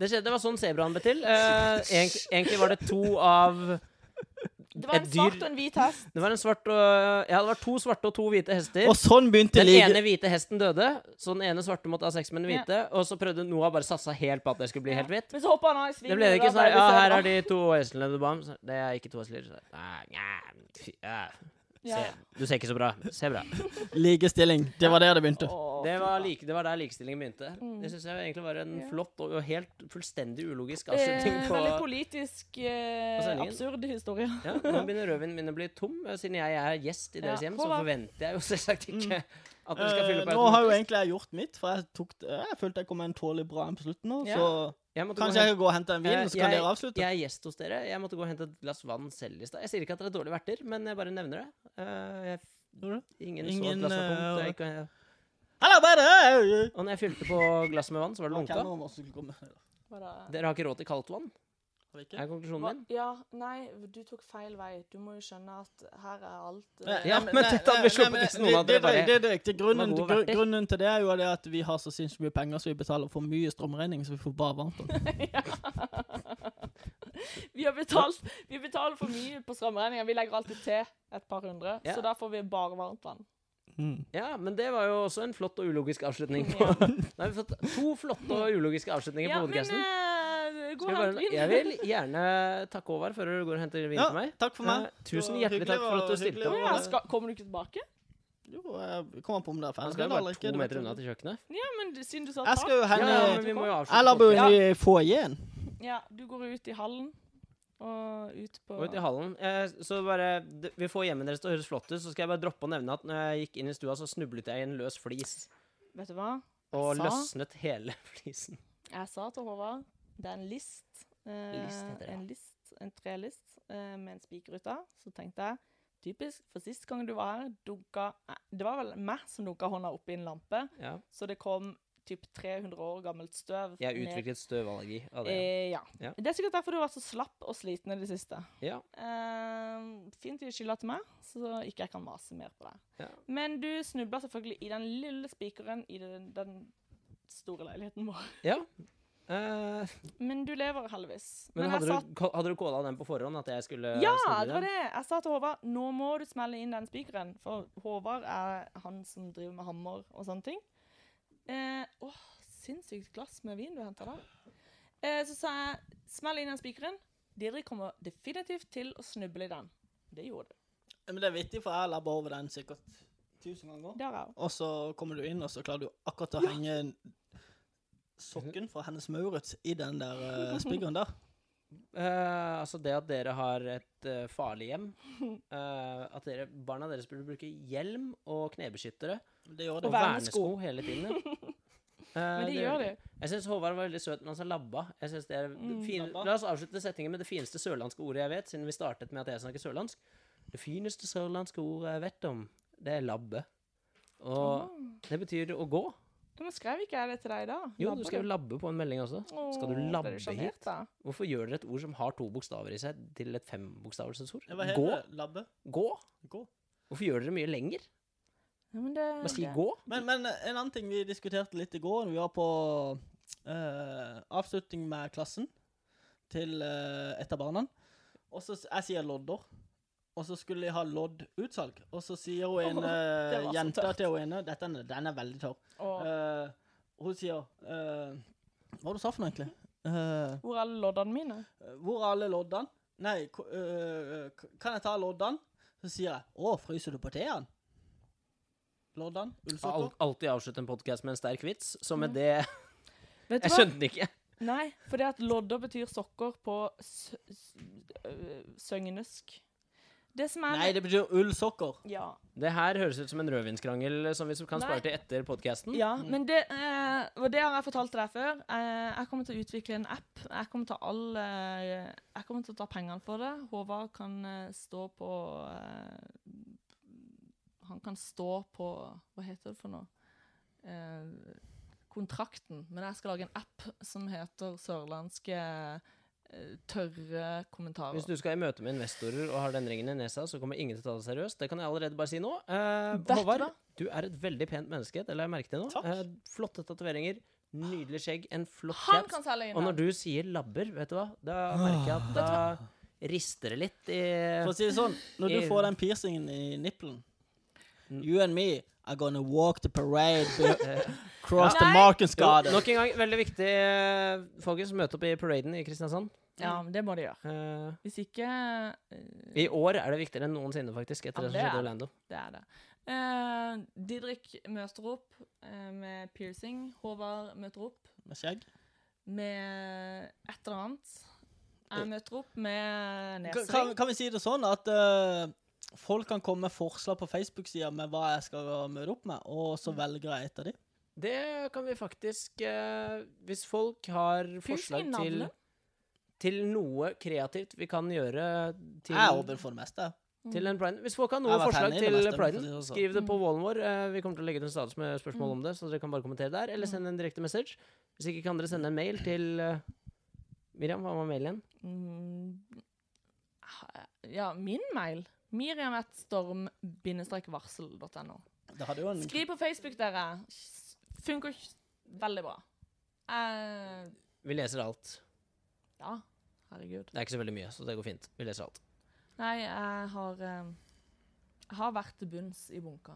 S2: Det skjedde, det var sånn sebraen ble til. Eh, egentlig, egentlig var det to av
S4: Det var
S2: et
S4: en
S2: dyr-
S4: svart og en hvit hest.
S2: Det var en svart og Ja, det var to svarte og to hvite hester.
S3: Og sånn begynte
S2: Den ene
S3: livet.
S2: hvite hesten døde, så den ene svarte måtte ha sex med den hvite. Og så prøvde Noah bare satsa helt på at det skulle bli helt hvitt.
S4: Men så hopper han av i svingen.
S2: Det ble det ikke
S4: og da
S2: sånn Ja, her
S4: vi
S2: er de to eslene du ba om. Så, Det er ikke to esler. Så, «Nei, nei, fy, ja, se,
S4: Ja.
S2: du ser ikke så bra. Se bra.
S3: Likestilling. Det var der det begynte.
S4: Åh,
S2: Det var, like, det var der likestillingen begynte.
S4: Mm.
S2: Det syns jeg egentlig var en flott og og helt fullstendig ulogisk avslutning
S4: eh,
S2: på
S4: Veldig politisk eh,
S2: På sendingen.
S4: absurd historie.
S2: ja, Nå begynner rødvinen min å bli tom. eh, Siden jeg er gjest i deres
S4: Ja,
S2: hjem, så
S4: hold Mm. da.
S2: forventer jeg jo selvsagt ikke at dere skal fylle
S3: Eh,
S2: på
S3: nå har jo
S2: automatisk.
S3: egentlig jeg gjort mitt, for jeg, tok, eh, jeg følte jeg kom med en tålelig bra en på slutten nå.
S4: Ja.
S3: Så
S2: Jeg måtte gå
S3: kanskje
S2: hen-
S3: jeg kan gå og hente en vin,
S2: Eh,
S3: så kan
S2: jeg-
S3: dere avslutte.
S2: Jeg er gjest hos dere. Jeg måtte gå og hente et glass vann selv i stad. Jeg sier ikke at dere er dårlige verter, men jeg bare nevner det. Eh, jeg,
S3: Gjorde
S2: ingen, så at
S3: Ingen,
S2: glasset var tomt. og
S3: eh,
S2: Jeg, ikke-
S3: Hallo, bare!
S2: og når jeg fylte på glasset med vann, så var det lunka.
S3: Hvem skulle komme? Har
S4: Var det-
S2: Dere har ikke råd til kaldt vann,
S3: vi ikke?
S2: er konklusjonen
S4: Hva?
S2: min.
S4: Ja, nei, du tok feil vei. Du må jo skjønne at her er alt eh,
S2: Ja, men dette hadde vi sluppet hvis noen av
S3: det,
S2: dere bare-
S3: det, det, er riktig. grunnen,
S2: var gode
S3: grunn-
S2: verter.
S3: grunnen til det er jo det at vi har så sinnssykt mye penger, så vi betaler for mye strømregning, så vi får bare varmt. vann.
S4: Vi har betalt Vi betaler for mye på strømregninga. Vi legger alltid til et par hundre,
S2: Ja.
S4: så da får vi bare varmt vann.
S2: Ja, men det var jo også en flott og ulogisk avslutning. På. Da har vi fått to flotte og ulogiske avslutninger
S4: Ja,
S2: på
S4: men
S2: podkasten.
S4: eh, eh, gå
S2: Skal vi
S4: og hent
S2: bare,
S4: vin.
S2: jeg vil gjerne takke over før du går og henter vin
S3: Ja,
S2: til meg.
S3: takk for meg.
S2: Eh, tusen
S3: Det var
S2: hjertelig takk
S3: hyggelig
S2: for
S3: og
S2: at du stilte
S3: hyggelig
S4: Å
S2: opp.
S3: og-
S4: ja, skal, kommer du ikke tilbake?
S3: Jo, jeg kommer på om det
S2: Han
S3: er ferdig.
S2: skal jo
S3: eller
S2: bare
S3: ikke,
S2: to
S3: det vet
S2: meter
S3: jeg
S2: unna
S3: ikke.
S2: til kjøkkenet.
S4: Ja, men d- siden du sa
S3: Jeg
S4: takk
S3: skal jo
S2: Ja,
S3: henne
S2: ja, men vi må jo
S3: Jeg la
S2: avslutte.
S3: henne i foajeen.
S4: Ja, du går ut i hallen og ut på
S2: Og ut i hallen. Eh, så bare d- Vi får hjemmet deres til å høres flott ut, så skal jeg bare droppe å nevne at når jeg gikk inn i stua, så snublet jeg i en løs flis.
S4: Vet du hva?
S2: Og
S4: Sa?
S2: løsnet hele flisen.
S4: Jeg sa til Håvard det er en list. eh,
S2: List heter det, ja.
S4: en list, en trelist eh, med en spiker ut av. Så tenkte jeg typisk, for sist gang du var her, dunka eh, Det var vel meg som dunka hånda opp i en lampe,
S2: Ja.
S4: så det kom typ 300 år gammelt støv.
S2: Jeg
S4: ned.
S2: utviklet støvallergi av det.
S4: Eh, ja.
S2: Ja.
S4: Det er sikkert derfor du har vært så slapp og sliten i det siste.
S2: Ja.
S4: Eh, fint du skylder til meg, så ikke jeg kan mase mer på deg.
S2: Ja.
S4: Men du snubla selvfølgelig i den lille spikeren i den, den store leiligheten vår.
S2: ja. Eh,
S4: Men du lever heldigvis.
S2: men
S4: Men jeg
S2: hadde
S4: sa
S2: du, eh, ko- hadde du kåla den på forhånd, at jeg skulle
S4: Ja,
S2: snuble
S4: det var
S2: den?
S4: det! Jeg sa til Håvard nå må du smelle inn den spikeren. For Håvard er han som driver med hammer og sånne ting. Eh, åh, sinnssykt glass med vin du henta der. Eh, så sa jeg smell inn den spikeren. Didrik kommer definitivt til å snuble i den. Det gjorde du.
S3: Men det er vittig, for jeg labba over den sikkert tusen ganger.
S4: Det har jeg òg.
S3: Og så kommer du inn, og så klarer du akkurat å henge sokken fra hennes Maurits i den der uh, spikeren der.
S2: Eh, altså det at dere har et eh, farlig hjem. eh, at dere, barna deres burde bruke hjelm og knebeskyttere.
S3: Det gjør
S2: Og
S3: det.
S4: vær-
S2: vernesko
S4: vernesko.
S2: hele tiden. ja. Eh,
S4: Men det Mm, gjør de.
S2: Jeg syns Håvard var veldig søt mens han labba. Jeg synes det er det fine,
S3: Labba.
S2: La oss avslutte setningen med det fineste sørlandske ordet jeg vet, siden vi startet med at jeg snakker sørlandsk. Det fineste sørlandske ordet jeg vet om, det er labbe.
S4: Ah.
S2: Og det betyr å gå.
S4: Ja, Men skrev ikke jeg det til deg da?
S2: Jo, du skal jo labbe på en melding også. Skal du labbe hit?
S4: Da?
S2: Hvorfor gjør dere et ord som har to bokstaver i seg, til et fembokstavelsesord?
S3: Hva heter
S2: Gå?
S3: det? Labbe?
S2: Gå?
S3: Gå.
S2: Hvorfor gjør dere det mye lenger?
S4: Ja, men det,
S2: Bare si
S4: det-
S2: gå.
S3: Men, men eh, en annen ting vi diskuterte litt i går, når vi var på eh, avslutning med klassen til eh, et av barna. Og så s- Jeg sier lodder. Og så skulle de ha loddutsalg. Og så sier hun en eh,
S4: det var så
S3: jente
S4: tørt.
S3: til hun ene Dette, er- Den er veldig tørr.
S4: Åh,
S3: Eh, hun sier eh, Hva var det du sa for noe, egentlig? Eh,
S4: hvor er alle loddene mine?
S3: hvor er alle loddene? Nei, ko- eh, eh, kan jeg ta loddene? Så sier jeg Å, fryser du på teen? Loddene? Ullsokker?
S2: Al alltid avslutte en podkast med en sterk vits, så med det
S4: Vet du
S2: Jeg
S4: hva?
S2: skjønte den ikke.
S4: Nei, for det at lodder betyr sokker på s s øh, søgnesk. Det som er
S3: Nei, det betyr ullsokker.
S4: Ja,
S2: Det her høres ut som en rødvinskrangel som vi kan
S4: Nei.
S2: spare til etter podkasten.
S4: ja men det, eh, og det har jeg fortalt til deg før. Eh, jeg kommer til å utvikle en app. Jeg kommer til, å all, eh, jeg kommer til å ta pengene for det. Håvard kan eh, stå på eh, Han kan stå på Hva heter det for noe? Eh, kontrakten. Men jeg skal lage en app som heter Sørlandske eh, tørre kommentarer.
S2: Hvis du skal i møte med investorer og har den ringen i nesa, så kommer ingen til å ta det seriøst. Det kan jeg allerede bare si nå. Eh,
S4: Vet du
S2: Håvard,
S4: hva?
S2: du er et veldig pent menneske. Det la jeg merke til nå.
S3: Takk.
S2: Eh, flotte tatoveringer, nydelig skjegg, en flott
S4: Han
S2: caps.
S4: kan selge inn
S2: Og
S4: den.
S2: når du sier labber, vet du hva, da merker jeg
S4: Ah.
S2: at da rister det litt i
S3: For å si det sånn, når du
S2: Eh.
S3: får den piercingen i nippelen You and me are gonna walk the parade be- across the
S4: Nei.
S3: Markensgade.
S2: Nok en gang, veldig viktig, eh, folkens. Møte opp i paraden i Kristiansand.
S4: Ja, men det må de gjøre.
S2: Eh,
S4: Hvis ikke eh,
S2: I år er det viktigere enn noensinne, faktisk, etter
S4: Ja,
S2: det som
S4: det er
S2: skjedde i
S4: det.
S2: Orlando.
S4: Det er det. Eh, Didrik møter opp eh, med piercing. Håvard møter opp
S3: Med skjegg.
S4: med et eller annet. Jeg møter opp med
S3: Eh. Kan- Kan,
S4: nesring.
S3: kan vi si det sånn at eh, folk kan komme med forslag på Facebook-sida med hva jeg skal møte opp med, og så velger jeg et av de?
S2: Det kan vi faktisk eh, Hvis folk har forslag
S4: i
S2: til,
S4: navnet?
S2: til noe kreativt vi kan gjøre til,
S3: Jeg er åpen for det meste.
S2: til en pride Hvis folk har
S3: Jeg
S2: noe
S3: har vært
S2: forslag
S3: enig i det
S2: til
S3: meste, for å si
S2: priden,
S3: det sånn.
S2: skriv det på wallen vår. Eh, Vi kommer til å legge ut en status med spørsmål om det, så dere kan bare kommentere der. Eller send en direkte message. Hvis ikke kan dere sende en mail til eh, Miriam, hva var mailen?
S4: Mm, ha- ja, min mail. Miriam.storm-varsel.no.
S3: Det hadde jo en
S4: Skriv på Facebook, dere. S- Funker ikke veldig bra. Eh,
S2: Vi leser alt.
S4: ja, herregud.
S2: Det er ikke så veldig mye, så det går fint. Vi leser alt.
S4: Nei, jeg har eh, Jeg har vært til bunns i bunka.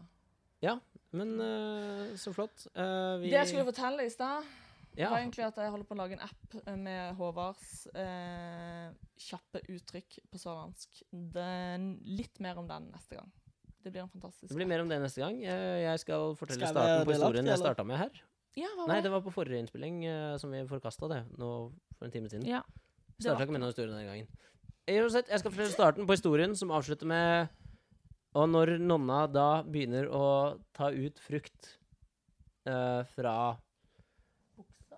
S2: Ja, men eh, så flott. Eh, vi,
S4: Det jeg skulle fortelle i stad Det
S2: Ja.
S4: var egentlig at jeg holder på å lage en app med Håvards eh, kjappe uttrykk på sørlandsk. Den, litt mer om den neste gang. Det blir en fantastisk
S2: Det blir mer om det neste gang. Eh, Jeg skal fortelle
S3: Skal vi
S2: starten på
S3: dele
S2: historien
S3: aktig,
S2: jeg
S3: eller?
S2: starta med her.
S4: Ja, hva var
S2: Nei,
S4: det?
S2: det var på forrige innspilling eh, som vi forkasta det nå for en time siden.
S4: Ja. Det
S2: Starta
S4: var-
S2: ikke med noen historie denne gangen. Eh, Uansett, jeg skal fortelle starten på historien som avslutter med Og når nonna da begynner å ta ut frukt eh, fra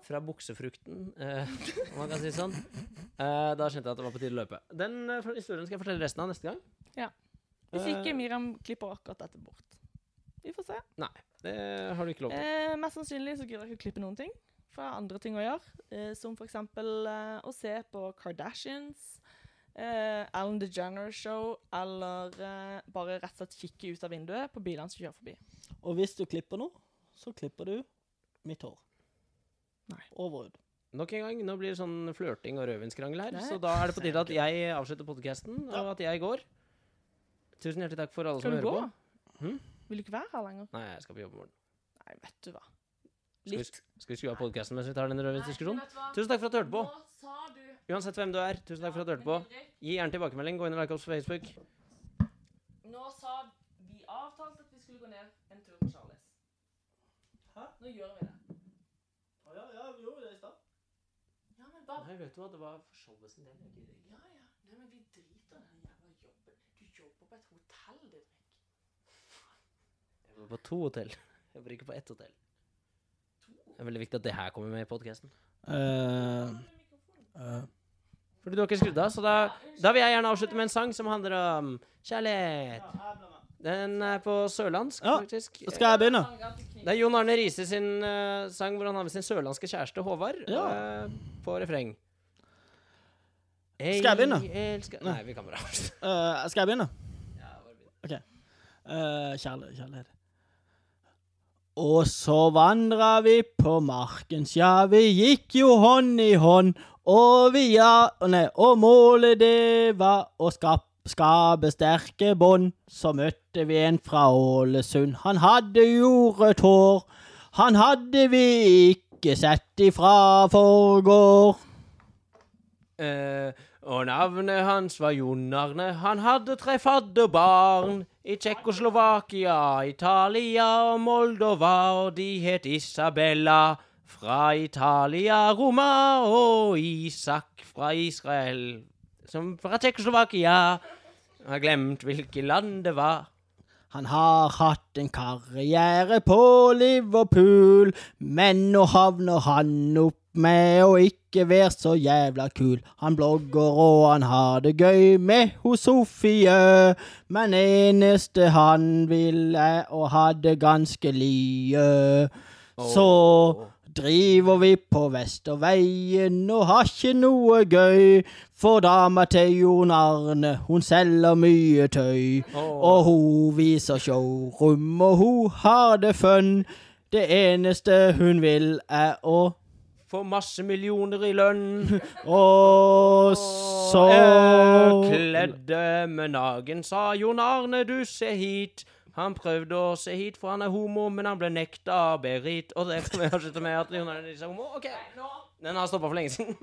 S2: Fra buksefrukten, eh, om man kan si det sånn. Eh, da skjønte jeg at det var på tide å løpe. Den eh, for- historien skal jeg fortelle resten av neste gang.
S4: Hvis
S2: eh,
S4: ikke Miriam klipper akkurat dette bort. Vi får se.
S2: Det har du ikke lov til.
S4: Eh, mest sannsynlig så gidder jeg ikke klippe noen ting fra andre ting å gjøre. Eh, som for eksempel eh, å se på Kardashians, eh, Alan DeGeneres show, eller eh, bare rett og slett kikke ut av vinduet på bilene som kjører forbi.
S3: Og hvis du klipper noe, så klipper du mitt hår.
S4: Nei.
S3: Over ut.
S2: Nok en gang, nå blir det sånn flørting og rødvinskrangel her,
S4: Nei.
S2: så da er det på tide at jeg avslutter podkasten, og at jeg går. Tusen hjertelig takk for alle
S4: Skal
S2: som
S4: du gå?
S2: hører på. Hm?
S4: Vil du ikke være her lenger?
S2: Nei, jeg skal på jobb i morgen.
S4: Nei, vet du hva.
S2: Skal vi,
S4: Litt.
S2: skal vi skru av podkasten mens vi tar den rødvinsdiskusjonen?
S4: Tusen
S2: Tusen takk for at du hørte på.
S4: sa du
S2: Uansett hvem du er, tusen takk for at du hørte på. Gi gjerne tilbakemelding, gå inn og like oss på Facebook.
S4: Nå sa vi avtalt at vi skulle gå ned en tur på Charlies.
S3: Hæ?
S4: Nå gjør vi det.
S3: Ja, ja, vi gjorde det i stad.
S4: Ja, men bare
S2: Nei, vet du hva, det var for showet sin del. Jeg gidder ikke.
S4: Ja, ja. Nei, men vi driter i den jævla jobben. Du jobber på et hotell, Didrik.
S2: Jeg var på to hotell. Jeg var ikke på ett hotell. Det er veldig viktig at det her kommer med i podkasten. Fordi du har ikke skrudd av, så da, da vil jeg gjerne avslutte med en sang som handler om kjærlighet. Den er på sørlandsk,
S3: Ja.
S2: faktisk.
S3: Skal jeg begynne?
S2: Det er Jon Arne Riise sin eh, sang hvor han har med sin sørlandske kjæreste Håvard
S3: Ja.
S2: eh, på refreng.
S3: Skal jeg begynne?
S2: elsker- Nei, vi kan bare avslutte.
S3: Eh, skal jeg begynne? OK. Eh, kjærlighet, kjærlighet. Og så vandra vi på markens, ja, vi gikk jo hånd i hånd. Og vi ja, å nei, og målet det var å skap, skape sterke bånd. Så møtte vi en fra Ålesund, han hadde jo rødt hår. Han hadde vi ikke sett ifra forgård.
S2: Eh, og navnet hans var Jon Arne. Han hadde tre fadderbarn i Tsjekkoslovakia, Italia og Moldova, og de het Isabella fra Italia, Roma og Isak fra Israel, som fra Tsjekkoslovakia. Jeg har glemt hvilket land det var.
S3: Han har hatt en karriere på Liverpool, men nå havner han opp med å ikke være så jævla kul. Han blogger og han har det gøy med ho Sofie, men eneste han vil er å ha det ganske lie. Så driver vi på Vesterveien og har ikke noe gøy, for dama til Jon Arne, hun selger mye tøy. Og hun viser showroom, og hun har det fun. Det eneste hun vil, er å
S2: Får masse millioner i lønn.
S3: Og så
S2: Eh, Kledde med nagen, sa Jon Arne, du se hit. Han prøvde å se hit, for han er homo, men han ble nekta av Berit. Og det kan vi avslutte med at Jon Arne Riise er homo. OK. Den har stoppa for lenge siden.